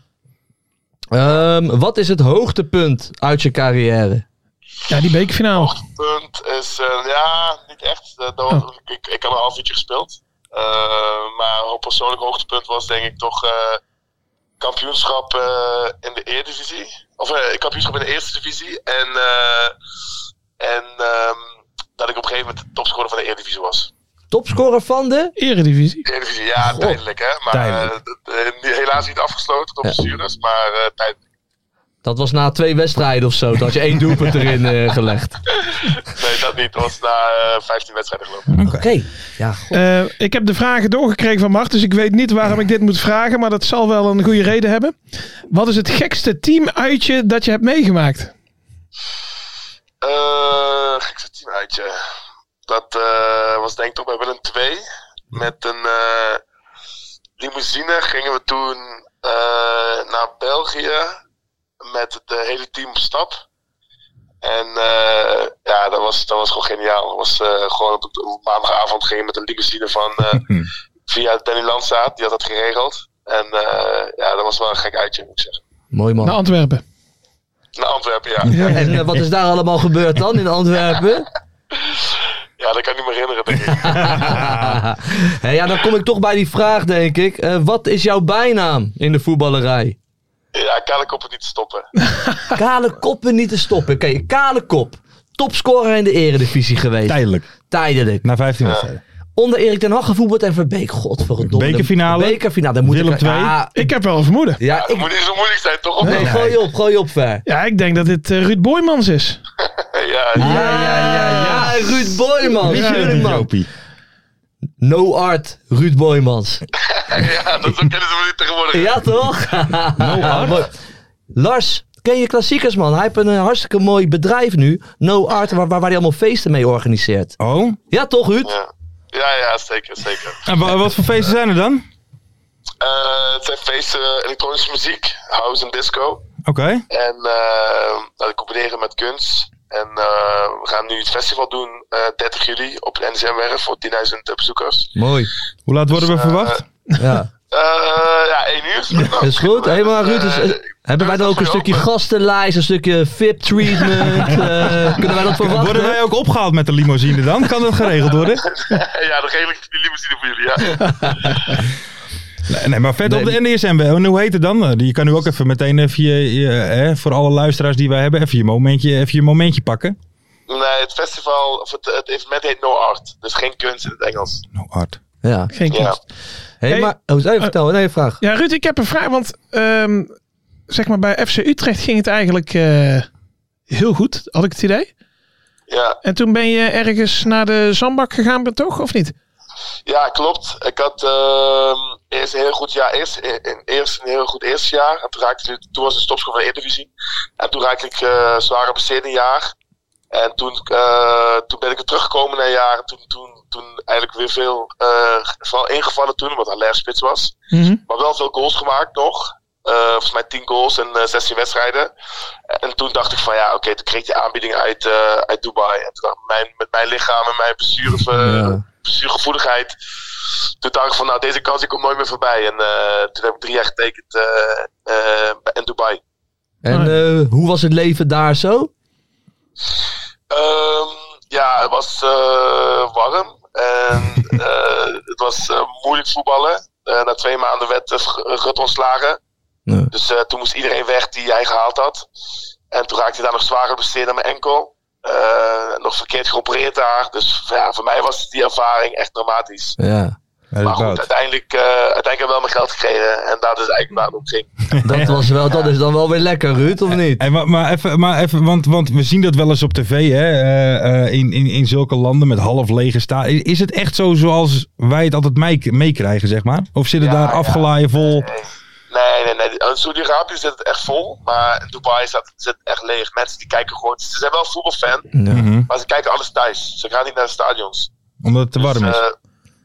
Ehm, wat is het hoogtepunt uit je carrière?
Ja, die bekerfinale.
Punt is, eh, ja, niet echt. Eh, dat was- ik, ik had een half uurtje gespeeld. Eh, maar op persoonlijk hoogtepunt was denk ik toch eh, kampioenschap eh, in de Eredivisie. Of eh, kampioenschap in de Eerste Divisie. En, eh, en ehm, dat ik op een gegeven moment de topscorer van de Eredivisie was.
Topscorer van de?
Eredivisie.
Eredivisie, ja, tijdelijk hè. Maar
Tijdelijk.
eh, dat, eh, niet- helaas niet afgesloten door bestuurders, maar eh tijdelijk.
Dat was na twee wedstrijden of zo. Dat had je één (laughs) doelpunt erin eh, gelegd. Oké.
Nee, dat niet. Dat was na eh 15 wedstrijden gelopen.
Ja,
Eh, ik heb de vragen doorgekregen van Mart, dus ik weet niet waarom ik dit moet vragen, maar dat zal wel een goede reden hebben. Wat is het gekste teamuitje dat je hebt meegemaakt?
Eh gekste teamuitje. Dat eh, was denk ik toch bij Willem 2. Met een eh, limousine gingen we toen eh, naar België met het eh, hele team op stap. En eh, ja, dat was, dat was gewoon geniaal. Dat was eh, gewoon op, op maandagavond gingen we met een limousine van eh, via Danny Landzaat. Die had dat geregeld. En eh, ja, dat was wel een gek uitje, moet ik zeggen.
mooi man.
Naar Antwerpen.
Naar Antwerpen, ja.
en eh, wat is daar allemaal gebeurd dan in Antwerpen?
Ja, dat kan ik niet meer herinneren, denk ik.
Ah. (laughs) Hé, ja, dan kom ik toch bij die vraag, denk ik. Eh, wat is jouw bijnaam in de voetballerij?
Ja, kan ik op het niet stoppen.
Kale koppen niet te stoppen. Oké, kale kop. Topscorer in de eredivisie geweest.
Tijdelijk.
Tijdelijk.
Na 15 wedstrijden.
Onder Erik ten Hag gevoetbald en Verbeek. Godverdomme.
Bekerfinale.
Bekerfinale. Dan moet
Willem
ik,
II.
Ja,
Ik heb wel een vermoeden.
ja,
Het
ik,
moet niet zo moeilijk zijn, toch? Of
nee,
niet?
gooi op, gooi op ver.
Ja, ik denk dat dit eh, Ruud Boymans is.
Ja,
Ja, ja, ja, ja. Ah, Ruud Boymans.
Wie zei dit,
Tuurlijk, man.
Jopie?
No art, Ruud Boymans.
ja, dat zo kennen ze me niet tegenwoordig.
(laughs) Ja, toch? No art. Lars, ken je klassiekers, man? Hij heeft een eh, hartstikke mooi bedrijf nu. No art, waar, waar, waar hij allemaal feesten mee organiseert.
Oh,
Ja, toch, Ruud?
Ja, ja, ja zeker, zeker.
en wa- wat voor feesten zijn er dan?
Eh, het zijn feesten eh, elektronische muziek, house en disco.
Oké.
En eh, dat combineren met kunst. En eh, we gaan nu het festival doen eh 30 juli op de NCM-werf voor 10.000 bezoekers.
Mooi. Dus, eh,
Hoe laat worden we verwacht?
Ja,
Eh, ja, 1 uur.
dat is goed. Hé, maar Ruud, is, eh,
Eh,
hebben wij dan ook een stukje gastenlijst, een stukje (laughs) VIP-treatment? eh, kunnen wij dat
Worden
verwachten?
wij ook opgehaald met de limousine dan? Kan dat geregeld worden?
(laughs) ja, dan geef ik die limousine voor jullie. Ja.
Nee, nee, maar vet op de NDSM. En hoe heet het dan? Eh, Je kan nu ook even meteen even je, je, eh, voor alle luisteraars die wij hebben, even je momentje, even je momentje pakken.
Nee, het festival, of het, het evenement heet No Art. Dus geen kunst in het Engels.
Nou, Art.
Ja.
Geen
Ja.
kunst.
Hé,
Hey,
maar... Oh, sorry, vertel. Nee, vraag.
Ja, Ruud, ik heb een vraag. Want ehm, zeg maar, bij FC Utrecht ging het eigenlijk eh, heel goed, had ik het idee.
Ja,
En toen ben je ergens naar de zandbak gegaan, toch? Of niet?
Ja, klopt. Ik had ehm, eerst een heel goed jaar, eerst, een, eerst een heel goed eerste jaar. En toen, raakte, ik- toen was de stopschool van de Eredivisie. En toen raakte ik eh zwaar geblesseerd een jaar. En toen, eh, toen ben ik weer teruggekomen na een jaar. En Toen, toen, toen eigenlijk weer veel eh, vooral ingevallen toen, omdat hij spits was. Maar wel veel goals gemaakt nog. Eh, volgens mij 10 goals en eh, 16 wedstrijden. En toen dacht ik van ja, oké, toen kreeg ik die aanbieding uit, eh, uit Dubai. En toen dacht ik, mijn, met mijn lichaam en mijn blessure, eh, blessuregevoeligheid. Toen dacht ik van nou, deze kans die komt nooit meer voorbij. En eh, toen heb ik drie jaar getekend eh, eh, in Dubai.
En eh, hoe was het leven daar zo?
Ehm, ja, het was eh, warm. En eh, het was eh, moeilijk voetballen. Eh, na twee maanden werd eh, Rut ontslagen. Dus eh, toen moest iedereen weg die hij gehaald had. En toen raakte hij daar nog zwaar geblesseerd aan mijn enkel. Eh, nog verkeerd geopereerd daar. Dus ja, voor mij was die ervaring echt dramatisch.
Ja.
maar goed, uiteindelijk, eh, uiteindelijk heb ik wel mijn geld gekregen. En dat is eigenlijk waar het om ging.
Dat, (laughs) was wel, dat is dan wel weer lekker, Ruud, of niet?
En, Eh, maar, maar even, maar even want, want we zien dat wel eens op tv, hè? eh, eh, in, in, in zulke landen met half lege sta. Is, is het echt zo zoals wij het altijd mee- meekrijgen, zeg maar? Of zit het
Ja,
daar
ja.
afgelaaien vol?
Nee, nee, nee. In Saudi-Arabië zit het echt vol. Maar in Dubai zit, zit het echt leeg. Mensen die kijken gewoon. Ze zijn wel voetbalfan.
Mhm.
Maar ze kijken alles thuis. Ze gaan niet naar de stadions.
Omdat het te warm is.
Eh,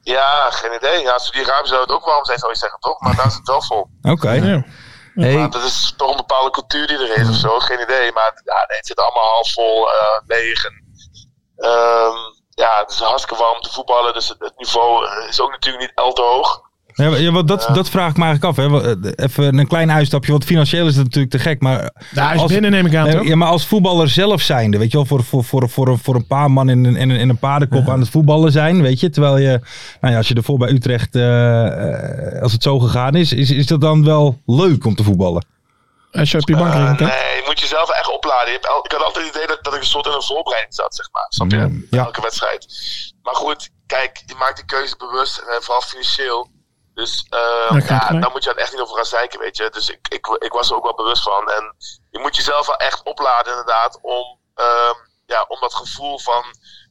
ja, geen idee. Ja, Saudi-Arabië zou het ook warm zijn, zou je zeggen, toch? Maar daar is het wel vol.
Oké.
Maar dat is toch een bepaalde cultuur die er is of zo. Geen idee. Maar ja, nee, het zit allemaal half vol, eh, leeg. En, ehm, ja, het is hartstikke warm te voetballen. Dus het, het niveau eh, is ook natuurlijk niet el te hoog.
Ja, wa- ja, want dat, dat vraag ik me eigenlijk af. Hè. Wel, eh, Even een klein uitstapje, want financieel is dat natuurlijk te gek. Maar
Daar is binnen, neem ik aan,
Nee,
toch?
Ja, maar als voetballer zelf zijnde, weet je wel, voor, voor, voor, voor, voor een paar man in een, in een, in een paardenkop aan het voetballen zijn, weet je. Terwijl je, nou ja, als je ervoor bij Utrecht, eh, eh, als het zo gegaan is, is, is dat dan wel leuk om te voetballen?
Als je op je bank
Eh,
rekent, hè?
nee, je moet jezelf echt opladen. Je hebt el- ik had altijd het idee dat, dat ik een soort in een voorbereiding zat, zeg maar. Snap je?
Mm, ja.
Elke wedstrijd. Maar goed, kijk, je maakt die keuze bewust en eh, vooral financieel. Dus eh,
kan ik
ja,
gelijk.
daar moet je dan echt niet over gaan zeiken, weet je. Dus ik, ik, ik was er ook wel bewust van. En je moet jezelf wel echt opladen, inderdaad, om, ehm, ja, om dat gevoel van,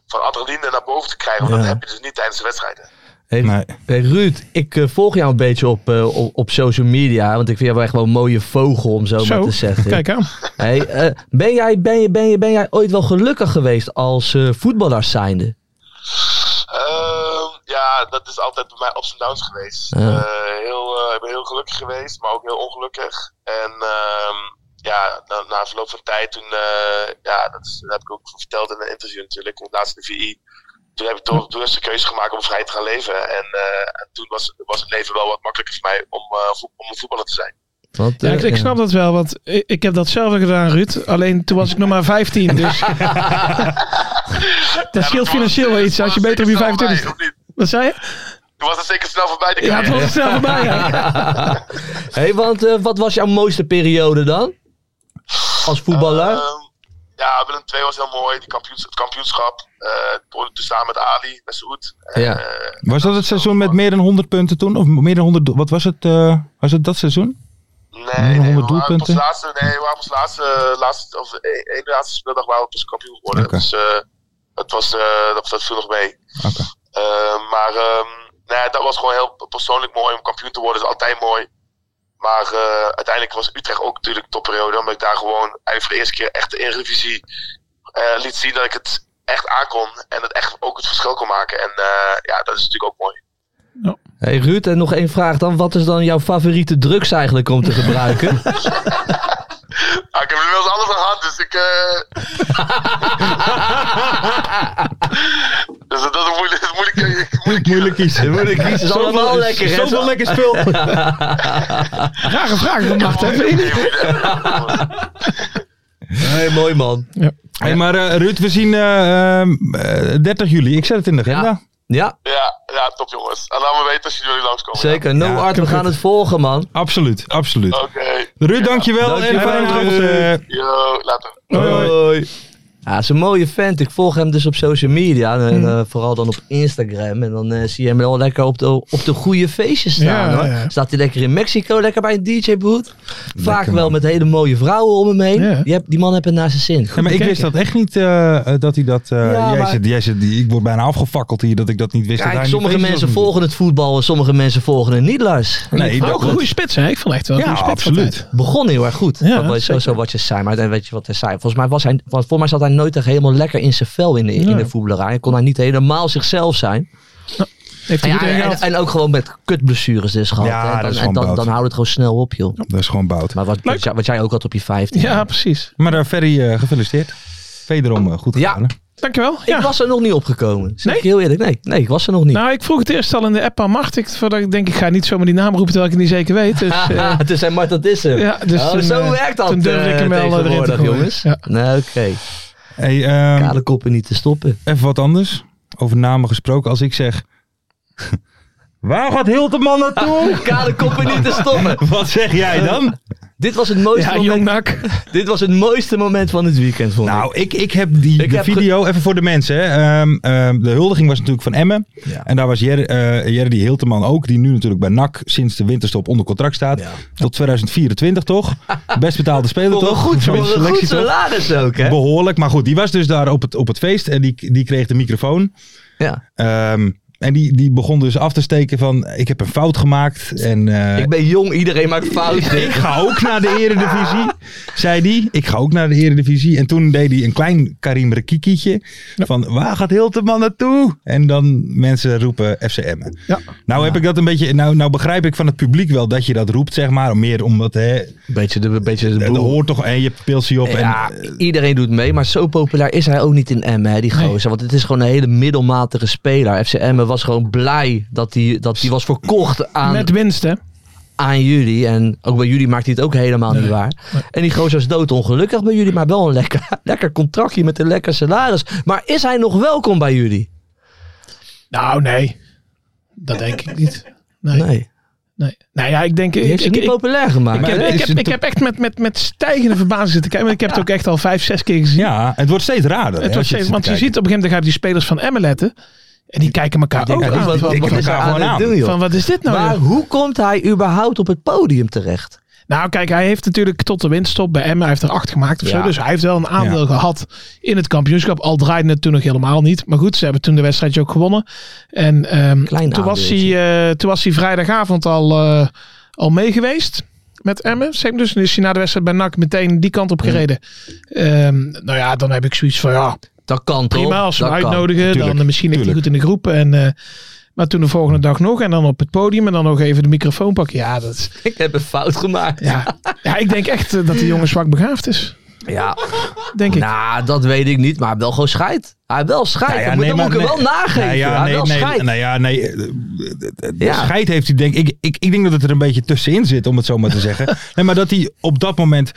van adrenaline naar boven te krijgen. Want
Ja.
dat heb je dus niet tijdens de wedstrijden.
Hey,
Nee.
hey, Ruud, ik eh, volg jou een beetje op, eh, op, op social media, want ik vind jou echt wel een mooie vogel, om zo,
Zo,
maar te zeggen.
kijk aan.
Hey, eh, ben, jij, ben, je, ben, je, ben jij ooit wel gelukkig geweest als eh voetballer zijnde?
Ehm, ja, dat is altijd bij mij ups en downs geweest.
Ja.
Eh, heel, eh, ik ben heel gelukkig geweest, maar ook heel ongelukkig. En ehm, ja, na, na verloop van tijd, toen, eh, ja, dat, is- dat heb ik ook verteld in een interview natuurlijk, in het laatste VI. Toen heb ik toch bewust de keuze gemaakt om vrij te gaan leven. En, eh, en toen was, was het leven wel wat makkelijker voor mij om, eh, voet- om een voetballer te zijn.
Want,
Ja,
eh,
ik, ik snap dat wel, want ik, ik heb datzelfde gedaan, Ruud. Alleen toen was ik nog maar 15, dus... dat scheelt financieel wel iets, als je beter op je 25
Toen
staat. Wat zei je?
was het zeker snel voorbij de
Ja, het
carrière.
was er snel voorbij, ja.
Hey, want eh, wat was jouw mooiste periode dan? Als voetballer?
Ehm, ja, Willem II was heel mooi. Die kampioens, het kampioenschap. eh toen samen met Ali, met Saoed.
Ja.
Eh,
Was dat het seizoen met meer dan 100 punten toen? Of meer dan 100, do- wat was het, eh, was het dat
(laughs)
seizoen?
nee, nee,
100
we waren pas
doelpunten?
laatste, nee, we waren pas laatste, laatste of één één laatste speeldag waren we pas kampioen geworden.
Oké.
Dus eh, het was, eh, dat, dat viel nog mee.
Oké.
Eh, maar ehm, nee, dat was gewoon heel persoonlijk mooi om kampioen te worden. is altijd mooi. Maar eh, uiteindelijk was Utrecht ook natuurlijk topperiode. Omdat ik daar gewoon eigenlijk voor de eerste keer echt de Eredivisie eh, liet zien dat ik het echt aankon. En dat echt ook het verschil kon maken. En eh, ja, dat is natuurlijk ook mooi.
Hey Ruud, en nog één vraag dan. Wat is dan jouw favoriete drugs eigenlijk om te gebruiken?
Ah, ik heb er wel eens alles aan gehad, dus ik... eh, dus dat is een moeilijk, eh, moeilijk, moeilijk
Moeilijk (laughs) kiezen. Moeilijk kiezen.
is allemaal lekker, hè?
Zoveel lekker
(laughs)
spul.
Rare vraag dan, Maarten. vind je niet?
kiezen.
hey, mooi man.
Hey, maar eh, Ruud, we zien eh, ehm, eh, 30 juli. Ik zet het in de agenda.
Ja. Ja,
Ja, ja, top jongens. En laat me weten als jullie langskomen.
zeker. No
Ja,
art, we gaan het volgen man.
Absoluut, absoluut.
Oké.
Ruud, dankjewel.
Dankjewel,
en fijne avond.
Ruud.
eh.
Yo, later.
Hoi, hoi.
Hoi. Ja, het is een mooie vent. Ik volg hem dus op social media. En,
Hmm.
eh, vooral dan op Instagram. En dan eh, zie je hem wel lekker op de, op de goede feestjes staan.
Ja,
hoor.
ja.
Staat hij lekker in Mexico, lekker bij een DJ-boot. Vaak wel met hele mooie vrouwen om hem heen.
Ja.
Die, heb- die man heeft het naar zijn zin.
Ja, maar ik wist dat echt niet eh, eh, dat hij dat. eh,
Ja,
jij
maar-
zit, jij zit, ik word bijna afgefakkeld hier dat ik dat niet wist. dat
Kijk,
hij
sommige
niet feestjes
mensen
organiseert.
volgen het voetbal en sommige mensen volgen het niet, Oh, Lars.
Nee,
Maar
dat
ook een
klopt.
goede spits, hè? Ik vond echt wel een
Ja,
goede spits.
absoluut.
altijd.
Begon heel erg goed.
Ja,
dat was
zeker.
sowieso wat je zei. Maar dan weet je wat hij zei. Volgens mij, was hij, volgens mij zat hij nooit echt helemaal lekker in zijn vel in de, in
Ja.
de voetballerij. Kon hij niet helemaal zichzelf zijn.
Heeft hij
Ja,
goed
en,
ingehaald.
en ook gewoon met kutblessures dus gehad.
Ja,
hè.
dat
dan,
is
en
gewoon
dan,
bout.
dan houdt het gewoon snel op, joh.
Dat is gewoon bout.
Maar wat, wat, jij, wat jij ook had op je 15.
Ja, precies.
Maar daar Ferry, eh, gefeliciteerd. Wederom eh, goed
Ja.
gedaan. hè?
Dankjewel.
Ik
Ja.
was er nog niet opgekomen. Zeg
Nee?
ik heel eerlijk. Nee, nee, ik was er nog niet.
Nou, ik vroeg het eerst al in de app aan Mart. Ik, voordat ik denk, ik ga niet zomaar die naam roepen terwijl ik het niet zeker weet. Dus, eh,
Haha, toen zei Mart, dat is hem.
ja, dus
Oh,
toen,
zo
eh,
werkt dat
Toen durfde ik hem
eh,
wel erin te
tegenwoordig,
gooien.
jongens.
Ja.
Nou, oké.
Hey, ehm,
Kale koppen niet te stoppen.
even wat anders. Over namen gesproken. Als ik zeg. (laughs) Waar gaat Hilteman
(laughs)
naartoe?
Kale koppen niet te stoppen.
wat zeg jij dan?
dit, was het mooiste
Ja,
moment,
jong nak.
dit was het mooiste moment van het weekend, vond ik.
Nou, ik, ik heb die
Ik
de
heb ge-
video, even voor de mensen. Hè. Ehm, ehm, de huldiging was natuurlijk van Emmen. En daar was Jer, eh Jerry Hilteman ook, die nu natuurlijk bij NAC sinds de winterstop onder contract staat. Tot 2024
(laughs)
toch? Best betaalde speler
Voor een
toch?
goed,
Van de
voor een goed
selectie, toch?
salaris ook, hè?
Behoorlijk, maar goed, die was dus daar op het, op het feest en die, die kreeg de microfoon.
Ja.
Ehm, en die, die begon dus af te steken van, ik heb een fout gemaakt en eh,
Ik ben jong, iedereen maakt fouten.
ik ga ook naar de Eredivisie, zei die. Ik ga ook naar de Eredivisie. En toen deed hij een klein Karim Rekikietje. Van waar gaat Hilteman naartoe? En dan mensen roepen FCM.
Ja.
Nou heb ik dat een beetje. Nou, nou begrijp ik van het publiek wel dat je dat roept, zeg maar. Meer omdat hè,
Beetje de, beetje de
er
boel.
hoort toch en je pilsie op.
Ja,
En,
eh, iedereen doet mee, maar zo populair is hij ook niet in Emmen, hè, die gozer. Want het is gewoon een hele middelmatige speler. FC Emmen was gewoon blij dat hij dat die was verkocht aan,
Met winst, hè?
aan jullie. En ook bij jullie maakt hij het ook helemaal niet waar. En die gozer is doodongelukkig bij jullie, maar wel een lekker, (laughs) lekker contractje met een lekker salaris. Maar is hij nog welkom bij jullie?
Nou, nee. Dat denk ik niet. Nee. nee.
Nee,
Nou ja, ik denk...
die
Ik,
heeft zich
ik,
niet
ik,
populair gemaakt.
Maar-
ik,
het
heb,
is
ik, heb,
een
ik
to-
heb echt met, met, met stijgende verbazing zitten kijken. Want ik heb het ook echt al vijf, zes keer gezien.
ja, het wordt steeds raarder. hè,
Het was
als
steeds,
het
want je
zit te
ziet op een gegeven moment dan gaan die spelers van Emmen letten. En Ah, die kijken elkaar ook
ja,
Wat-
die-
aan.
wat-
die-
wat
die-
is hij
elkaar
aan
gewoon
het
aan.
doen, joh?
Van wat is dit nou?
Maar
joh?
hoe komt hij überhaupt op het podium terecht?
Nou kijk, hij heeft natuurlijk tot de winststop bij Emmen. Hij heeft er acht gemaakt of
Ja.
zo. Dus hij heeft wel een aandeel gehad in het kampioenschap. Al draaide het toen nog helemaal niet. Maar goed, ze hebben toen de wedstrijdje ook gewonnen. En ehm,
Klein
toen, was hij,
aandeeltje.
eh, toen was hij vrijdagavond al, eh, al mee geweest. Met Emmen, zeg maar. Dus toen is hij na de wedstrijd bij NAC meteen die kant op gereden. Ehm, nou ja, dan heb ik zoiets van ja,
Dat kan toch?
prima als ze hem
Dat kan.
uitnodigen.
Tuurlijk,
dan misschien ligt hij goed
tuurlijk.
in de groep. En, eh, maar toen de volgende dag nog. En dan op het podium. En dan nog even de microfoon pakken. Ja, dat is...
Ik heb een fout gemaakt.
Ja. ja, ik denk echt eh, dat die jongen zwak begaafd is.
Ja,
Denk ik.
nou, dat weet ik niet, maar hij heeft wel gewoon scheid. Hij heeft wel scheid.
Nou ja,
Dan moet-
nee,
dan moet ik
maar
hem wel
nee.
nageven.
Nou ja,
hij
nee,
heeft wel
nee,
scheid.
nou ja, nee. eh, de- de- de
Ja.
Scheid heeft hij denk ik, ik. Ik denk dat het er een beetje tussenin zit, om het zo maar te (laughs) zeggen. Nee, maar dat hij op dat moment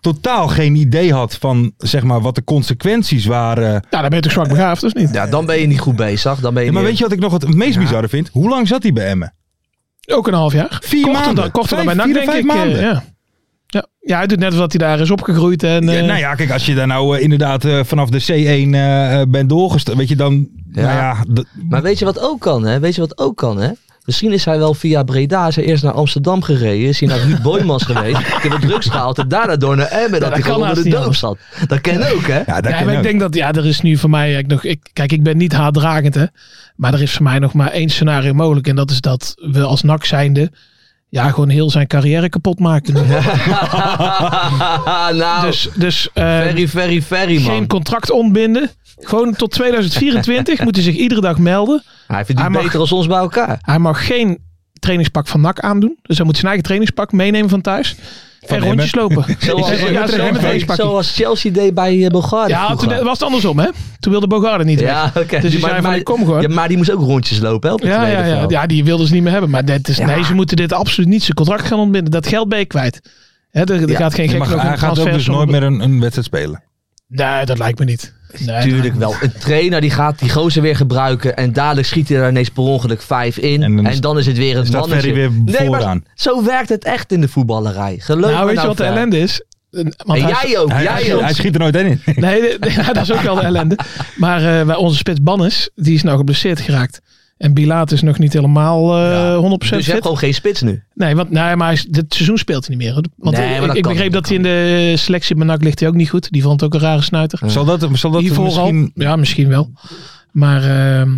totaal geen idee had van zeg maar wat de consequenties waren.
Nou, dan ben je toch zwak begaafd, of niet?
Ja, dan ben je niet goed bezig. Dan ben je
Ja, maar
niet-
weet je wat ik nog het meest bizarre vind? Hoe lang zat hij bij Emmen?
Ook een half jaar.
Vier
korter
maanden.
Dan, korter
Vijf,
dan bij
vier
NAC,
of
denk ik.
vijf
eh,
maanden.
Ja. Ja. ja, hij doet net alsof hij daar is opgegroeid. En,
Ja,
eh,
nou ja, kijk, als je daar nou eh, inderdaad eh, vanaf de C1 eh, eh, bent doorgestart, weet je dan.
Ja.
Nou ja, d-
Maar weet je wat ook kan, hè? Weet je wat ook kan, hè? Misschien is hij wel via Breda, is hij eerst naar Amsterdam gereden, is hij naar Ruud Boymans geweest, ik heb drugs gehaald en daarna door naar Emmen, dat,
dat
hij
kan
gewoon onder
haast
de
niet
doop zat. Dat ken ook, hè?
ja, daar
ja,
kan
maar ik
ook.
denk dat, ja, er is nu voor mij, ik nog, ik, kijk, ik ben niet haatdragend, hè. Maar er is voor mij nog maar één scenario mogelijk. En dat is dat we als NAC zijnde, ja, gewoon heel zijn carrière kapot maken.
nou,
Dus, dus eh,
very, very, very, man.
geen contract ontbinden. Gewoon tot 2024 (laughs) moet hij zich iedere dag melden.
hij verdient
Hij mag-
beter als ons bij elkaar.
Hij mag geen trainingspak van NAC aandoen. Dus hij moet zijn eigen trainingspak meenemen van thuis. en
Emmen.
rondjes lopen.
(laughs)
Zoals,
Ja,
ja,
zo'n
zoals-
trainingspakje.
zoals Chelsea deed bij eh, Bulgaria
Ja, toen
vroeger.
was het andersom, hè? Toen wilde Bogarde niet
Ja,
weg.
oké. Die-
Dus die
maar-
zei
maar-
van, kom gewoon.
Ja, maar die moest ook rondjes lopen, hè? op het
Ja, ja, ja,
veld.
ja, die wilden ze niet meer hebben. Maar dit is,
Ja.
nee, ze moeten dit absoluut niet zijn contract gaan ontbinden. Dat geld ben je kwijt. Hè, er er
Ja.
gaat geen
Hij
gek
mag-
nog
hij
een
gaat ook dus
transfer-
nooit meer een, een wedstrijd spelen.
Nee, dat lijkt me niet. Nee,
Tuurlijk wel. Een trainer die gaat die gozer weer gebruiken. En dadelijk schiet hij er ineens per ongeluk vijf in.
En
En
dan
dan,
is-
is het weer een
staat
mannetje.
Ferry weer
nee, maar
vooraan.
zo werkt het echt in de voetballerij. Geloof
Nou,
me
weet je
nou
wat de
Fer.
ellende is? een-
En
want hij-
jij ook,
Hij,
jij
hij-
ook.
hij schiet er nooit één in.
(laughs)
Nee, de- de- ja, dat is ook wel de ellende. Maar eh, waar onze spits Bannes, die is nou geblesseerd geraakt. En Bilaat is nog niet helemaal eh,
Ja.
100%
Dus je hebt
fit.
gewoon geen spits nu.
Nee, want, nee, maar hij is- dit seizoen speelt hij niet meer. hoor. Want
Nee, maar
ik-
dat
ik,
kan niet,
begreep dat
dat
hij in de eh, selectie benak ligt hij ook niet goed. Die vond het ook een rare snuiter.
Zal dat, zal dat
Hiervoor
misschien...
al? Ja, misschien wel. Maar ehm,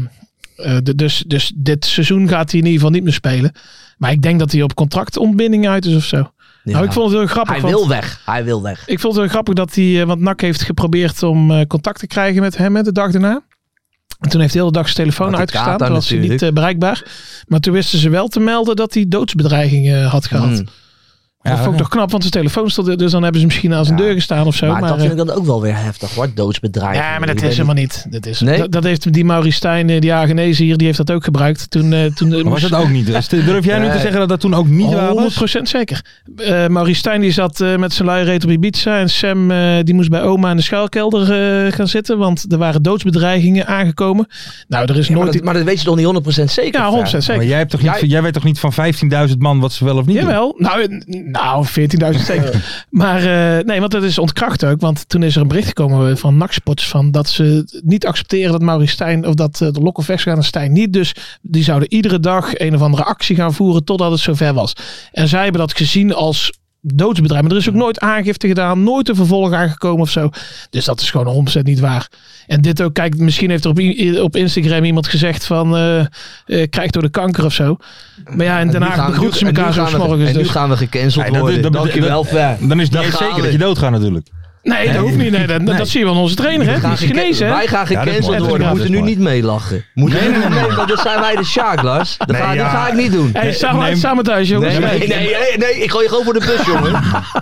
eh, d- dus, dus dit seizoen gaat hij in ieder geval niet meer spelen. Maar ik denk dat hij op contractontbinding uit is of zo. Nou, ik vond het heel grappig.
Hij
want-
wil weg. Hij wil weg.
ik vond het wel grappig dat hij, eh, want Nak heeft geprobeerd om eh, contact te krijgen met hem hè, de dag daarna. En toen heeft hij de hele dag zijn telefoon
Had de
uitgestaan.
kater
Toen was hij niet
natuurlijk.
eh, bereikbaar. Maar toen wisten ze wel te melden dat hij doodsbedreigingen eh, had gehad.
Hmm.
dat vond ik
ja.
toch knap, want zijn telefoon stond er. Dus dan hebben ze misschien aan zijn deur gestaan of zo.
maar,
Maar,
dat
eh,
vind ik dan ook wel weer heftig hoor. Doodsbedrijf.
ja, maar dat
Ik
is
weet
helemaal niet. Dat, is,
Nee?
dat, dat heeft die Mauristijn, die Agenese hier, die heeft dat ook gebruikt. Toen, eh, toen eh,
Maar was
moest-
dat ook niet? Dus durf jij nu te
Nee. Oh,
zeggen dat dat toen ook niet waar was?
100% zeker. Eh Maurice Stijn die zat eh, met zijn luie reet op Ibiza. En Sam eh, die moest bij oma in de schuilkelder eh, gaan zitten. Want er waren doodsbedreigingen aangekomen. Nou, er
Ja,
is
maar,
nooit...
dat,
iets.
maar dat weet je toch niet 100% zeker?
ja,
Fer?
100% zeker.
Maar jij, hebt toch niet, jij weet toch niet van 15.000 man wat ze wel of niet doen?
Jawel. Nou, eh, nou 14.000
(laughs)
zeker. maar eh, nee, want dat is ontkracht ook. Want toen is er een bericht gekomen van Naxpots van dat ze niet accepteren dat Maurice Stijn of dat eh, de lok of weg zou gaan en Stijn niet. Dus die zouden iedere dag een of andere actie gaan voeren totdat het zover was. En zij hebben dat gezien als doodsbedrijf. Maar er is ook nooit aangifte gedaan, nooit een vervolg aangekomen of zo. Dus dat is gewoon 100% niet waar. En dit ook, kijk, misschien heeft er op, i- op Instagram iemand gezegd van eh eh, krijg door de kanker of zo. Maar ja, in Den
En nu
Haag
gaan-
begroeten ze
en nu
elkaar zo
gaan we-
morgens.
En nu
Dus.
gaan we gecanceld
Nee, dat-
worden.
dat- dat-
Dankjewel, Fer.
Dan is het
Dan
niet eens
gaan
zeker
we.
dat je doodgaat natuurlijk.
Nee, dat hoeft niet. Nee, dat, dat zie je wel aan onze trainer, hè?
We
Die
gaan
is
geke-
genezen, hè?
Wij gaan
dat is
gecanceld
mooi.
worden.
Ja,
We
dat
moeten
is
nu
mooi.
niet meelachen. Moeten nee, nee, nee, want dan zijn wij de Sjaak, Lars. Dat, ga, dat ga ik niet doen.
Hey,
Nee,
samen,
nee,
samen thuis, jongens.
nee, nee, nee, nee, ik gooi je gewoon voor de bus, jongen.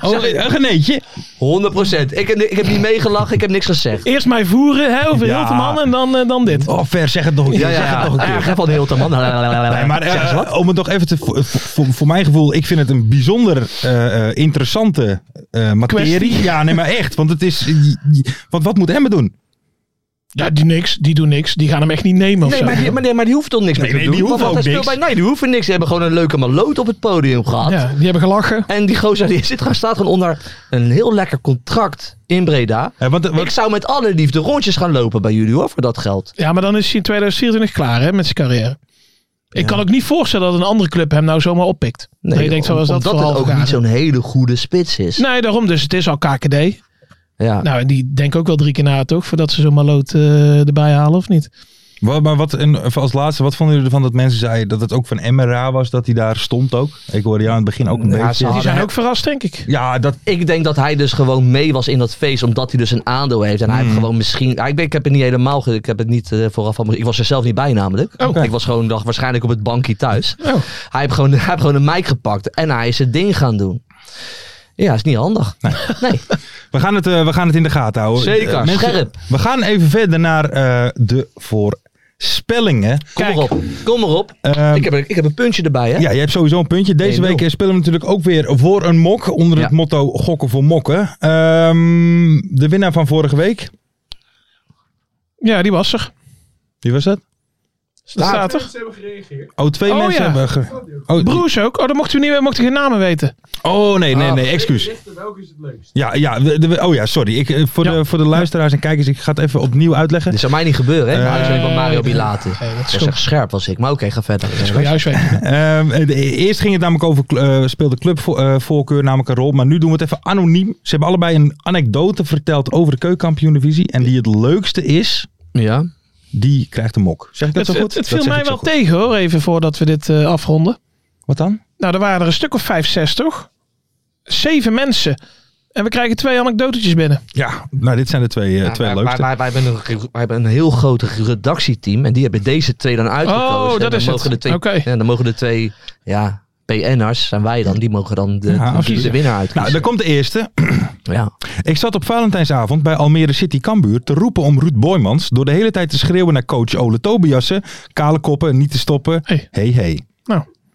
Oh, een geneetje.
100%. Ik heb, ik heb niet meegelachen, ik heb niks gezegd.
Eerst mij voeren, hè, over
Ja.
heel de man en dan, eh, dan dit.
Oh, ver, zeg het nog een keer.
Ja,
Zeg het
ja,
nog een
ja.
keer.
Ja, Geef al de hele man.
Nee, maar eh, om het nog even te. Voor, voor, voor mijn gevoel, ik vind het een bijzonder eh, eh, interessante eh, materie.
Kwestie.
Ja, nee, maar echt. Want het is. Want wat moet Emmen doen?
Ja, die niks, die doen niks. Die gaan hem echt niet nemen of
Nee,
zo.
maar die, maar, nee, maar die hoeft toch niks mee
nee,
te doen?
die hoeven
Want
ook
hij speelt
niks.
bij- Nee, die hoeven niks. Ze hebben gewoon een leuke maloot op het podium gehad.
Ja, die hebben gelachen.
En die gozer die zit, staat gewoon onder een heel lekker contract in Breda.
Eh, want, eh,
Ik
wat,
zou met alle liefde rondjes gaan lopen bij jullie hoor, voor dat geld.
Ja, maar dan is hij in 2024 klaar hè, met zijn carrière. Ik kan ook niet voorstellen dat een andere club hem nou zomaar oppikt. Nee, je denkt,
om-
zo was dat
omdat
vooral
het ook niet zo'n hele goede spits is.
Nee, daarom dus. Het is al KKD.
Ja.
Nou, en die denken ook wel drie keer na, toch? Voordat ze zo'n maloot eh, erbij halen, of niet?
Ah,
wat- maar wat, en even als laatste, wat vonden jullie ervan dat mensen zeiden dat het ook van MRA was dat hij daar stond ook? Ik hoorde jou aan het begin ook een
Ja, ze
beetje.
Die
hadden-
zijn ook verrast, denk ik.
Ja, dat.
Ik denk dat hij dus gewoon mee was in dat feest, omdat hij dus een aandeel heeft. En hij heeft gewoon misschien. ah, Ik, ben, ik heb het niet helemaal. ge- Ik heb het niet eh, vooraf al. Ik was er zelf niet bij, namelijk.
Oké.
Ik was gewoon dag, waarschijnlijk op het bankje thuis.
Oh.
Hij, heeft gewoon, hij heeft gewoon een mic gepakt en hij is het ding gaan doen. Ja, is niet handig. Nee.
We gaan, het, eh, we gaan het in de gaten houden.
Zeker,
Eh, mensen,
scherp.
We gaan even verder naar eh, de voorspellingen.
Kom
Kijk.
maar op. Kom maar op.
Ehm,
ik, heb, er- ik heb een puntje erbij, hè?
Ja, je hebt sowieso een puntje. Deze
1-0.
week eh, spelen we natuurlijk ook weer voor een mok. Onder het
Ja.
motto gokken voor mokken. Ehm, de winnaar van vorige week.
Ja, die was er.
Wie was dat?
Dat staat er.
Ze hebben gereageerd.
Oh, twee
Oh,
mensen
ja.
hebben... ge- Oh,
Broers ook. Oh, dan mochten we niet meer, mochten geen namen weten.
oh, nee,
Ah.
nee, nee. Excuus.
Lichter, welke is het leukst?
Ja, ja. we- de- oh ja, sorry. Ik, eh, voor,
Ja.
de, voor de luisteraars en kijkers, ik ga het even opnieuw uitleggen.
Dit zou mij niet gebeuren, hè?
Eh,
Maar ik ben van Mario Bilate.
dat is
Dat is
goed.
echt scherp was ik. Maar oké, ga verder.
Goeie
(laughs)
huiswerk.
Ehm, eh, de- eerst ging het namelijk over cl- eh, speelde clubvoorkeur namelijk een rol. Maar nu doen we het even anoniem. Ze hebben allebei een anekdote verteld over de keukenkampioen-divisie. En die het leukste is,
Ja.
die krijgt een mok. Zeg ik dat
Het,
zo goed?
het, het
Dat
viel
zeg
mij
ik zo
wel
goed.
tegen, hoor. Even voordat we dit eh, afronden.
Wat dan?
Nou, er waren er een stuk of vijf, zes, toch? Zeven mensen. En we krijgen twee anekdotetjes binnen.
Ja, nou dit zijn de twee, eh,
Ja,
twee
maar-
leukste.
Maar, maar wij, hebben een, ge- wij hebben een heel groot redactieteam. En die hebben deze twee dan uitgekozen.
Oh,
En
dat
dan
is
mogen
het.
De twee,
Oké.
En dan mogen de twee ja, PN'ers, zijn wij dan, die mogen dan de,
Ja,
de-
precies.
de winnaar
nou,
uitkiezen.
daar komt de eerste.
ja.
Ik zat op Valentijnsavond bij Almere City Cambuur te roepen om Ruud Boymans. Door de hele tijd te schreeuwen naar coach Ole Tobiassen. Kale koppen, niet te stoppen.
Hey.
hey, hey.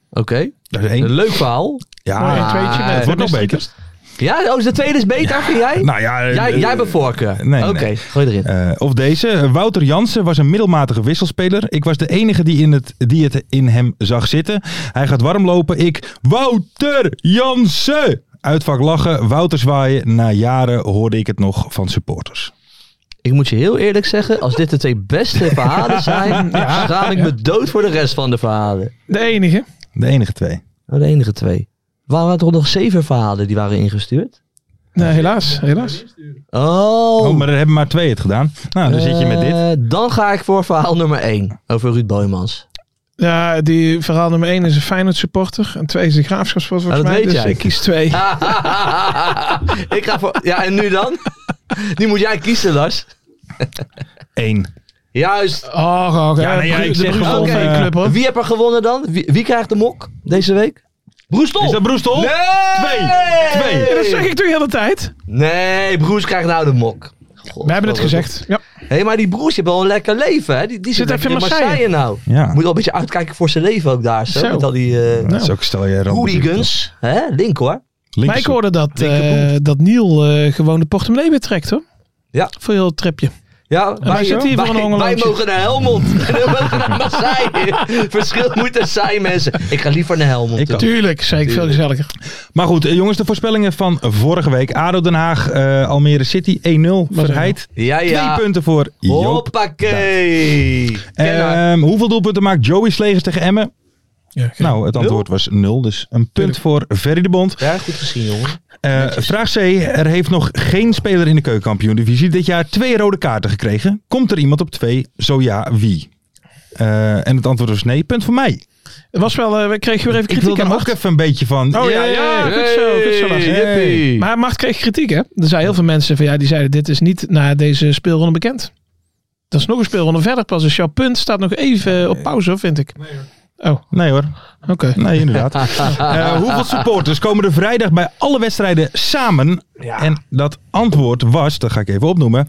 Oké,
Dat is
een
één.
leuk verhaal.
Ja,
Mooi, een
het
tweetje met-
het
wordt nog
met-
beter.
Ja, oh, de tweede is beter, vind jij?
Nou ja, eh,
jij,
eh,
jij bent voorkeur.
nee,
Oké,
nee.
gooi erin.
eh, of deze. Wouter Jansen was een middelmatige wisselspeler. Ik was de enige die, in het, die het in hem zag zitten. Hij gaat warm lopen. Ik, Wouter Jansen! Uitvak lachen, Wouter zwaaien. Na jaren hoorde ik het nog van supporters.
Ik moet je heel eerlijk zeggen, als dit de twee
(laughs)
beste verhalen zijn, schaam ik me dood voor de rest van de verhalen.
De enige.
De enige twee.
Oh, de enige twee. Waren er toch nog zeven verhalen die waren ingestuurd?
Nee, helaas, helaas.
Oh,
Oh, maar er hebben maar twee het gedaan. Nou, dan zit je met dit.
eh, dan ga ik voor verhaal nummer één over Ruud Boymans.
Ja, die verhaal nummer 1 is een Feyenoord supporter. En 2 is een Graafschap supporter
Nou,
volgens
dat
mij.
weet
Dus
jij.
ik kies 2.
(laughs) ik ga voor... Ja, en nu dan? Nu moet jij kiezen, Lars.
Eén.
Juist.
Oh, oké.
Ja,
nou
nee, ja,
De
ik
Bru-
zeg
de
gewoon,
Brugge
eh,
Club hoor.
Wie heb er gewonnen dan? Wie, wie krijgt de mok deze week? Broestel!
Is dat Broestel? Nou,
Nee!
Twee. Twee.
Ja, dat zeg ik toch de hele tijd?
Nee, Broes krijgt nou de mok. God,
We hebben het
wat-
gezegd. Ja.
Hé, hey, maar die Broes, die heeft wel een lekker leven, hè? Die, die zit,
Zit
even in
even in
Marseille, nou.
Ja.
Moet wel een beetje uitkijken voor zijn leven ook daar, zo.
Zo.
Met al die eh
Dat is ook stel je
hooligans. Hè? Link, hoor.
Links-
Maar ik hoorde dat, eh, dat Niel eh, gewoon de portemonnee weer trekt hoor.
Ja.
Voor heel het tripje.
Ja,
wij zitten hier voor een
wij, wij
hongerloontje.
mogen naar Helmond. (laughs) en we mogen naar Marseille. (laughs) Verschil moet er zijn, mensen. Ik ga liever naar Helmond.
Ik
toe.
ook.
Tuurlijk, zeker. Veel gezelliger.
Maar goed, eh, jongens, de voorspellingen van vorige week. ADO Den Haag, eh, Almere City 1-0. Verheid.
Ja,
Twee
ja.
punten voor Joop.
Hoppakee. Kenner.
Ehm, hoeveel doelpunten maakt Joey Slegers tegen Emmen?
Ja, geen-
Nou, het antwoord was 0. Dus een punt voor Ferry de Bond.
Ja, goed gezien, jongen.
Eh, vraag C. Er heeft nog geen speler in de keukenkampioen-divisie dit jaar twee rode kaarten gekregen. Komt er iemand op twee? Zo ja, wie? Eh, en het antwoord was nee. Punt voor mij.
Het was wel, eh, we kregen weer even
Ik
kritiek
wilde
aan
hem ook
Mart.
even een beetje van...
Oh ja, ja, goed zo, goed zo. Lars.
Hey.
Maar Mart kreeg kritiek hè. Er zijn heel veel mensen van, ja, die zeiden dit is niet na deze speelronde bekend. Dat is nog een speelronde verder pas. Dus jouw punt staat nog even op pauze hoor, vind ik. Oh,
Nee hoor.
oké.
Nee,
(laughs)
inderdaad. Eh, hoeveel supporters komen er vrijdag bij alle wedstrijden samen? En dat antwoord was, dat ga ik even opnoemen,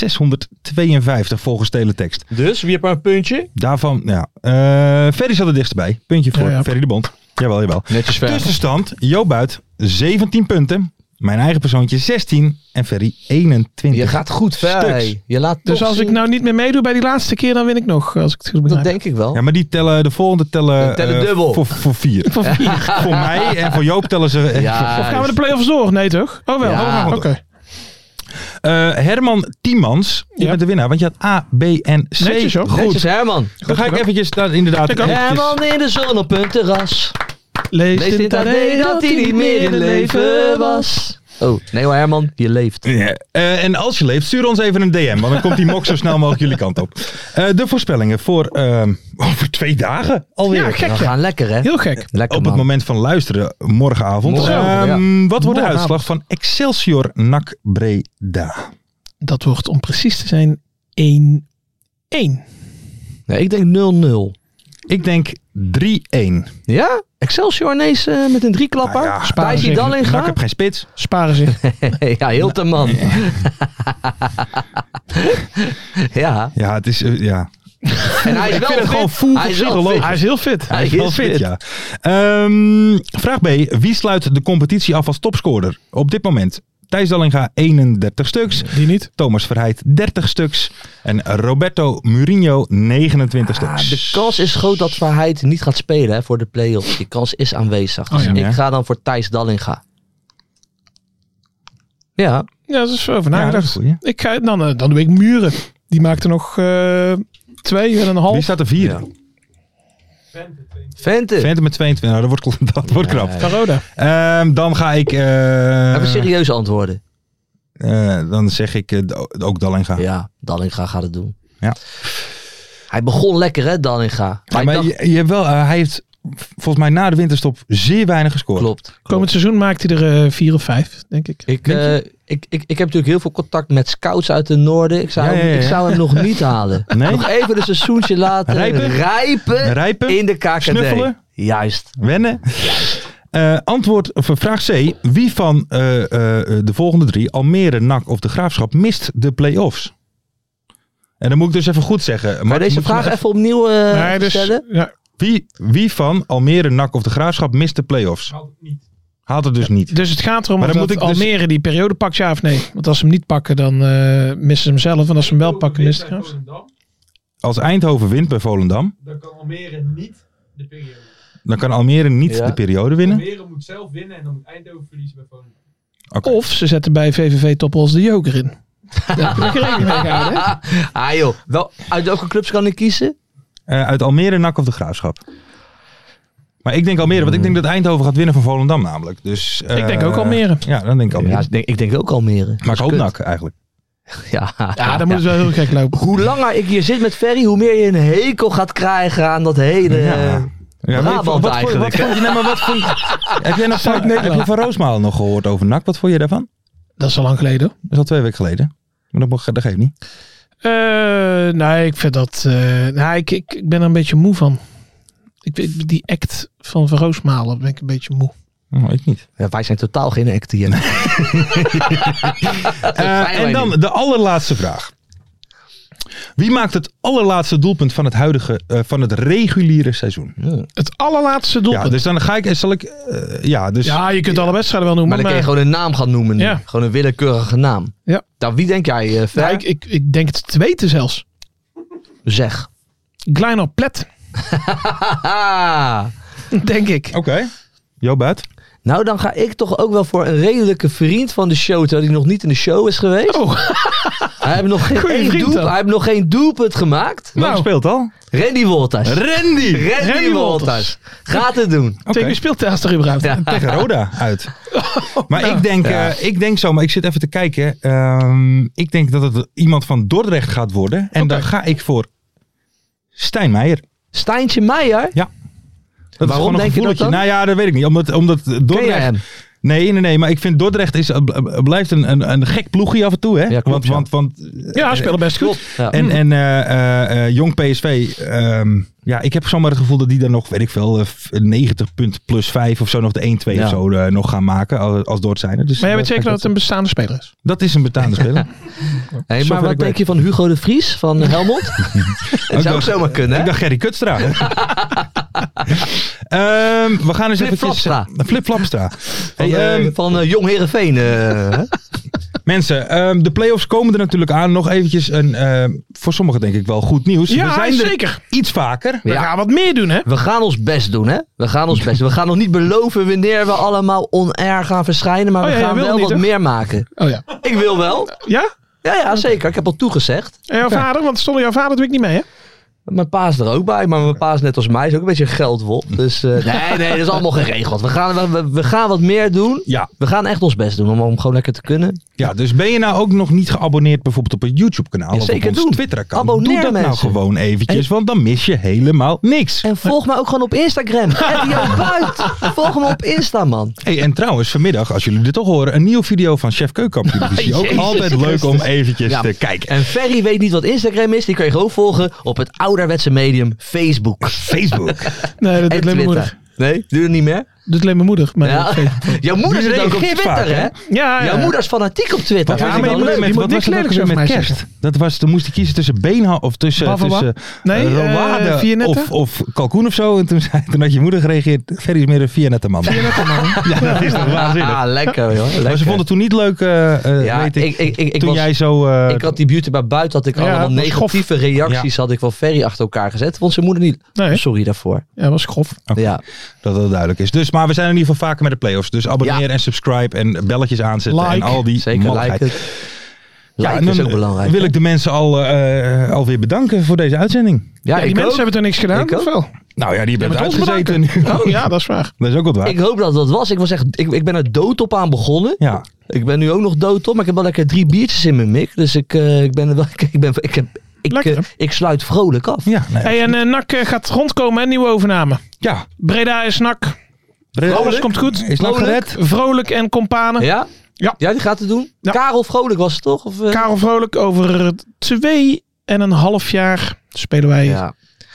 55.652 volgens teletext.
Dus, wie heeft maar een puntje?
Daarvan, ja. eh Ferry zat er dichtstbij. Puntje voor
Ja, ja.
Ferry de Bond. Jawel, jawel.
Netjes
Tussenstand, Joop Buit, 17 punten. Mijn eigen persoontje 16 en Ferry 21.
Je gaat goed ver.
Stuks.
hey. Je laat
Dus
toch
als
zien-
ik nou niet meer meedoe bij die laatste keer, dan win ik nog. Als ik het goed
Dat
begrijp.
denk ik wel.
Ja, maar die tellen, de volgende tellen,
Die tellen
eh,
dubbel.
Voor, voor
(laughs)
vier.
Van vier.
voor mij en voor Joop tellen ze. eh,
Ja,
voor-
Gaan we de play-offs door? Nee toch? Oh wel.
dus- Ja.
Oké.
Eh, Herman Tiemans, je
Ja.
bent de winnaar, want je had A, B en C.
Netjes, hoor.
Goed.
Netjes, Herman.
Dan ga ik eventjes daar inderdaad.
Ik ook.
eventjes-
Herman in de zon op een terras.
Lees,
Lees dit aan dat hij niet meer in leven was. Oh, nee hoor, Herman, je leeft.
Ja. Eh, en als je leeft, stuur ons even een DM, want dan komt die mok zo snel mogelijk jullie kant op. Eh, de voorspellingen voor ehm, over twee dagen alweer.
Ja, gek
Nou, We
ja.
gaan lekker, hè?
Heel gek.
Lekker,
Op het
man.
moment van luisteren, morgenavond.
Morgen,
Ehm, Wat wordt de
Morgenavond.
uitslag van Excelsior NAC Breda?
Dat wordt om precies te zijn 1-1.
Nee, ik denk
Ik denk 3-1.
0-0. Ja? Excelsior ineens eh, met een drieklapper.
Nou ja,
Bij
Sparen
Zidane in
NAC
gaan.
heb geen spits.
Sparen
(laughs)
zich.
(laughs) ja, heel te man. (laughs) ja,
Ja, het is... eh, ja.
en hij is
Ik vind
wel
het
fit.
gewoon full
Hij is wel
psychologisch.
fit.
Hij is heel fit.
Hij is
Wel fit, ja. Ehm, vraag B. Wie sluit de competitie af als topscorer? Op dit moment Thijs Dallinga 31 stuks.
Die niet.
Thomas Verheid 30 stuks. En Roberto Mourinho 29
Ah,
stuks.
Ah, De kans is groot dat Verheid niet gaat spelen hè, voor de play-offs. Die kans is aanwezig. Dus
ja.
ik ga dan voor Thijs Dallinga. Ja,
Ja, dat is over
Ja, dat is
nagedacht.
een goeie.
ik ga, dan, eh, dan doe ik Muren. Die maakte nog eh, twee en een
Wie
half.
staat er vierde?
Vente.
Venten met 22. Nou, dat wordt, (laughs) dat wordt knap.
Caroda.
Ehm, dan ga ik... eh,
Even serieuze antwoorden.
eh, dan zeg ik eh, d- ook Dallinga.
Ja, Dallinga gaat het doen.
Ja.
Hij begon lekker hè, Dallinga. Maar,
Ja,
ik
maar
dacht-
je, je hebt wel, eh, hij heeft volgens mij na de winterstop zeer weinig gescoord.
klopt. klopt.
Komend seizoen maakt hij er eh, vier of vijf, denk ik.
Ik, eh, ik, ik, ik heb natuurlijk heel veel contact met scouts uit het noorden. Ik zou,
Ja,
hem-
ja, ja.
Ik zou hem nog niet (laughs) halen.
Nee?
Nog even een seizoentje laten
Rijpen?
rijpen
Rijpen?
in de KKD.
Snuffelen?
Juist.
Wennen. Eh, antwoord voor vraag C. Wie van eh, eh, de volgende drie, Almere, NAC of de Graafschap, mist de play-offs? En dan moet ik dus even goed zeggen.
Maar
Mart,
deze
moet je me
vraag even opnieuw eh,
Nee, dus-
stellen.
ja,
Wie, wie van Almere, NAC of de Graafschap mist de play-offs? Haalt het niet. Haalt het dus niet.
dus het gaat erom
Maar
of
dan
dat
moet ik dus-
Almere die periode pakt, ja of nee. Want als ze hem niet pakken, dan eh, missen ze hem zelf. En als ze hem wel pakken, missen ze hem.
Volendam,
Als Eindhoven wint bij Volendam,
Dan kan Almere niet de periode.
Dan kan Almere niet
Ja.
de periode winnen.
Almere moet zelf winnen en dan moet Eindhoven verliezen bij Volendam.
Oké.
Of ze zetten bij VVV Toppels de joker in. Daar heb je ook rekening mee gehouden, hè?
Ah joh, wel, uit welke clubs kan ik kiezen?
Eh, uit Almere, NAC of de Graafschap. Maar ik denk Almere, want ik denk dat Eindhoven gaat winnen van Volendam namelijk. Dus, eh,
Ik denk ook Almere.
Ja, dan denk ik Almere.
Ja, ik denk, ik denk ook Almere.
maar ik hoop
Kut.
NAC eigenlijk.
(laughs) Ja.
Ja, dan moet het wel heel gek lopen.
Hoe langer ik hier zit met Ferry, hoe meer je een hekel gaat krijgen aan dat hele...
Ja.
eh,
Ja, maar ik-
Brabant
wat, vond-
eigenlijk,
Wat vond je, nee, maar wat
(laughs)
vond, heb jij nog van,
Zuid-Nederland.
heb je van Roosmalen nog gehoord over NAC? Wat vond je daarvan?
Dat is al lang geleden. hoor.
Dat is al twee weken geleden. Maar dat, mag, dat geeft niet.
Eh, nee, ik vind dat... eh, nou, ik, ik, ik ben er een beetje moe van. Ik, weet- die act van Van Roosmalen ben ik een beetje moe.
Oh, ik niet.
ja, wij zijn totaal geen act hier.
Eh,
wij
en dan
niet.
de allerlaatste vraag. Wie maakt het allerlaatste doelpunt van het huidige, eh, van het reguliere seizoen?
Het allerlaatste
Ja,
doelpunt.
dus dan ga ik, zal ik, eh, ja, dus
Ja, je kunt alle wedstrijden wel
Maar
noemen.
dan
Maar,
kun je gewoon een naam gaan noemen. nu.
Ja.
Gewoon een willekeurige naam.
Ja.
Nou, wie denk jij, eh, Fer?
Ja, ik, ik, ik denk het tweede zelfs.
Zeg.
Kleiner Plet,
Ah,
denk ik.
Oké. Jo, Buit.
nou, dan ga ik toch ook wel voor een redelijke vriend van de show, terwijl hij nog niet in de show is geweest.
Oh,
(laughs) Hij, heeft nog geen
Goeie
één
vriend
doelp-
dan.
hij heeft nog geen doelpunt gemaakt.
Welke
nou,
speelt al?
Randy Wolters.
Randy!
Randy,
Randy
Wolters.
Wolters.
Gaat het doen.
tegen wie speelt Telstar überhaupt?
Ja.
Tegen Roda uit. Maar ik denk, eh, ik denk zo, maar ik zit even te kijken. Ehm, ik denk dat het iemand van Dordrecht gaat worden. En dan ga ik voor Stijn Meijer.
Stijntje Meijer.
Dat is
Waarom
gewoon een
denk je dat
gevoeletje.
dan?
Nou ja, dat weet ik niet. Omdat, omdat
Ken jij
Dordrecht...
hem?
Nee, nee, nee. Maar ik vind Dordrecht is, eh, blijft een, een, een gek ploegje af en toe. Hè?
klopt,
want,
ja.
want, want
Ja, spelen best goed.
Ja.
En, en eh, eh, eh, jong PSV, ehm, ja, ik heb zomaar het gevoel dat die dan nog, weet ik veel, eh, f- 90 punt plus 5 of zo nog de 1-2
Ja.
of zo eh, nog gaan maken als, als door het zijn. Dus
Maar jij
eh,
weet zeker dat
dat,
het een bestaande speler is.
dat is een betaande speler.
Hey,
zover
maar
ik
wat denk
weet.
je van Hugo de Vries van Helmond? (laughs) dat zou ook
dacht-
zomaar kunnen.
ik
hè?
dacht Gerry Kutstra. Ehm, we gaan eens
Flip
even...
Flapstra.
Flip Flapstra.
Van,
Hey,
eh,
ehm,
van eh, Jong eh, Herenveen.
mensen, ehm, de play-offs komen er natuurlijk aan. Nog eventjes een, ehm, voor sommigen denk ik wel goed nieuws. we
Ja,
zijn er
zeker.
iets vaker.
We
Ja.
gaan wat meer doen, hè?
we gaan ons best doen, hè? We gaan ons best doen. We gaan nog niet beloven wanneer we allemaal on-air gaan verschijnen. Maar
Oh
we
ja, jij
gaan
wil
wel
niet,
wat
hè?
meer maken.
Oh ja.
Ik wil wel.
Ja?
Ja, ja, zeker. Ik heb al toegezegd.
En jouw vader? Want stond jouw vader natuurlijk niet mee, hè?
Mijn pa is er ook bij, maar mijn pa is net als mij is ook een beetje een geldwolf. Dus eh, nee, nee, dat is allemaal geregeld. We gaan, we, we gaan wat meer doen.
Ja.
We gaan echt ons best doen om, om gewoon lekker te kunnen.
Ja, dus ben je nou ook nog niet geabonneerd bijvoorbeeld op een YouTube-kanaal
Ja,
of op
zeker
ons
doen.
Twitter-account?
Abonneer
Doe dat nou
mensen.
gewoon eventjes, want dan mis je helemaal niks.
En volg me ook gewoon op (laughs) Instagram. Radio Buit. Volg me op Insta, man.
Hey, en trouwens, vanmiddag, als jullie dit toch horen, een nieuwe video van Chef
(laughs)
Keukamp. Televisie. ook
Jezus
altijd leuk om eventjes
Ja.
te kijken.
En Ferry weet niet wat Instagram is. Die kan je gewoon volgen op het ouderwetse medium Facebook.
Facebook.
Nee,
En
dat doet alleen mijn moeder.
Twitter. Nee, doe het niet meer.
Dat doet alleen mijn moeder. Maar
Ja. (laughs) Jouw moeder
Die
zit ook op
reageert
Twitter,
vaak, hè?
hè?
ja,
Jouw moeder is fanatiek op Twitter.
Wat
Ja,
was ik
maar je
ook
moet-
weer
die
met,
moet
wat
niks
was het ook
lelijks
weer
over
met
mij
kerst? Dat was, toen moest ik kiezen tussen Beenha of tussen,
Bava,
tussen
Nee,
eh,
eh,
Roade
Vianetta?
of, of Kalkoen of zo. En toen, zei, toen had je moeder gereageerd, Ferry is meer een Vianetta man. Ja, dat is toch waanzinnig.
Ah, lekker, joh. Lekker.
Maar ze vonden het toen niet leuk, eh, eh,
Ja,
weet ik.
ik, ik, ik, ik
toen
was-
jij zo... eh,
Ik had die beauty bij buiten, had ik
Ja,
allemaal
dat was
negatieve reacties had ik van Ferry achter elkaar gezet. Vond zijn moeder niet.
Nee.
Sorry daarvoor.
Ja, was grof.
Oké.
Ja.
Dat dat duidelijk is. Dus, maar we zijn in ieder geval vaker met de playoffs. Dus abonneer
Ja.
en subscribe en belletjes aanzetten
Like.
en al die
Zeker
malligheid.
like het.
Ja,
Like
en
is
dan eh,
ook belangrijk.
wil ik de mensen al, eh, eh, alweer bedanken voor deze uitzending.
ja,
Ja, die
ik,
mensen
hoop,
hebben er niks gedaan.
Ik ook.
of wel?
Nou ja, die hebben
met
het
ons
uitgezeten nu.
Oh (laughs) ja, dat is waar.
(laughs) Dat is ook wat waar.
ik hoop dat dat was. Ik, was echt, ik, ik ben er dood op aan begonnen.
Ja.
Ik ben nu ook nog dood op, maar ik heb wel lekker drie biertjes in mijn mik. Dus ik, eh, ik ben er wel. (laughs) Ik, ben, ik, heb, ik,
Lekker,
eh,
hè?
ik sluit vrolijk af.
Ja, nee.
Hey, en eh, NAC eh, gaat rondkomen, hè? Nieuwe overname.
ja.
Breda is NAC. Alles komt goed.
Is nog
Vrolijk.
gered.
Vrolijk en Companen.
Ja?
Ja.
die gaat het doen.
Ja.
Karel Vrolijk was het toch? Of, eh?
Karel Vrolijk, over twee en een half jaar spelen wij
Ja.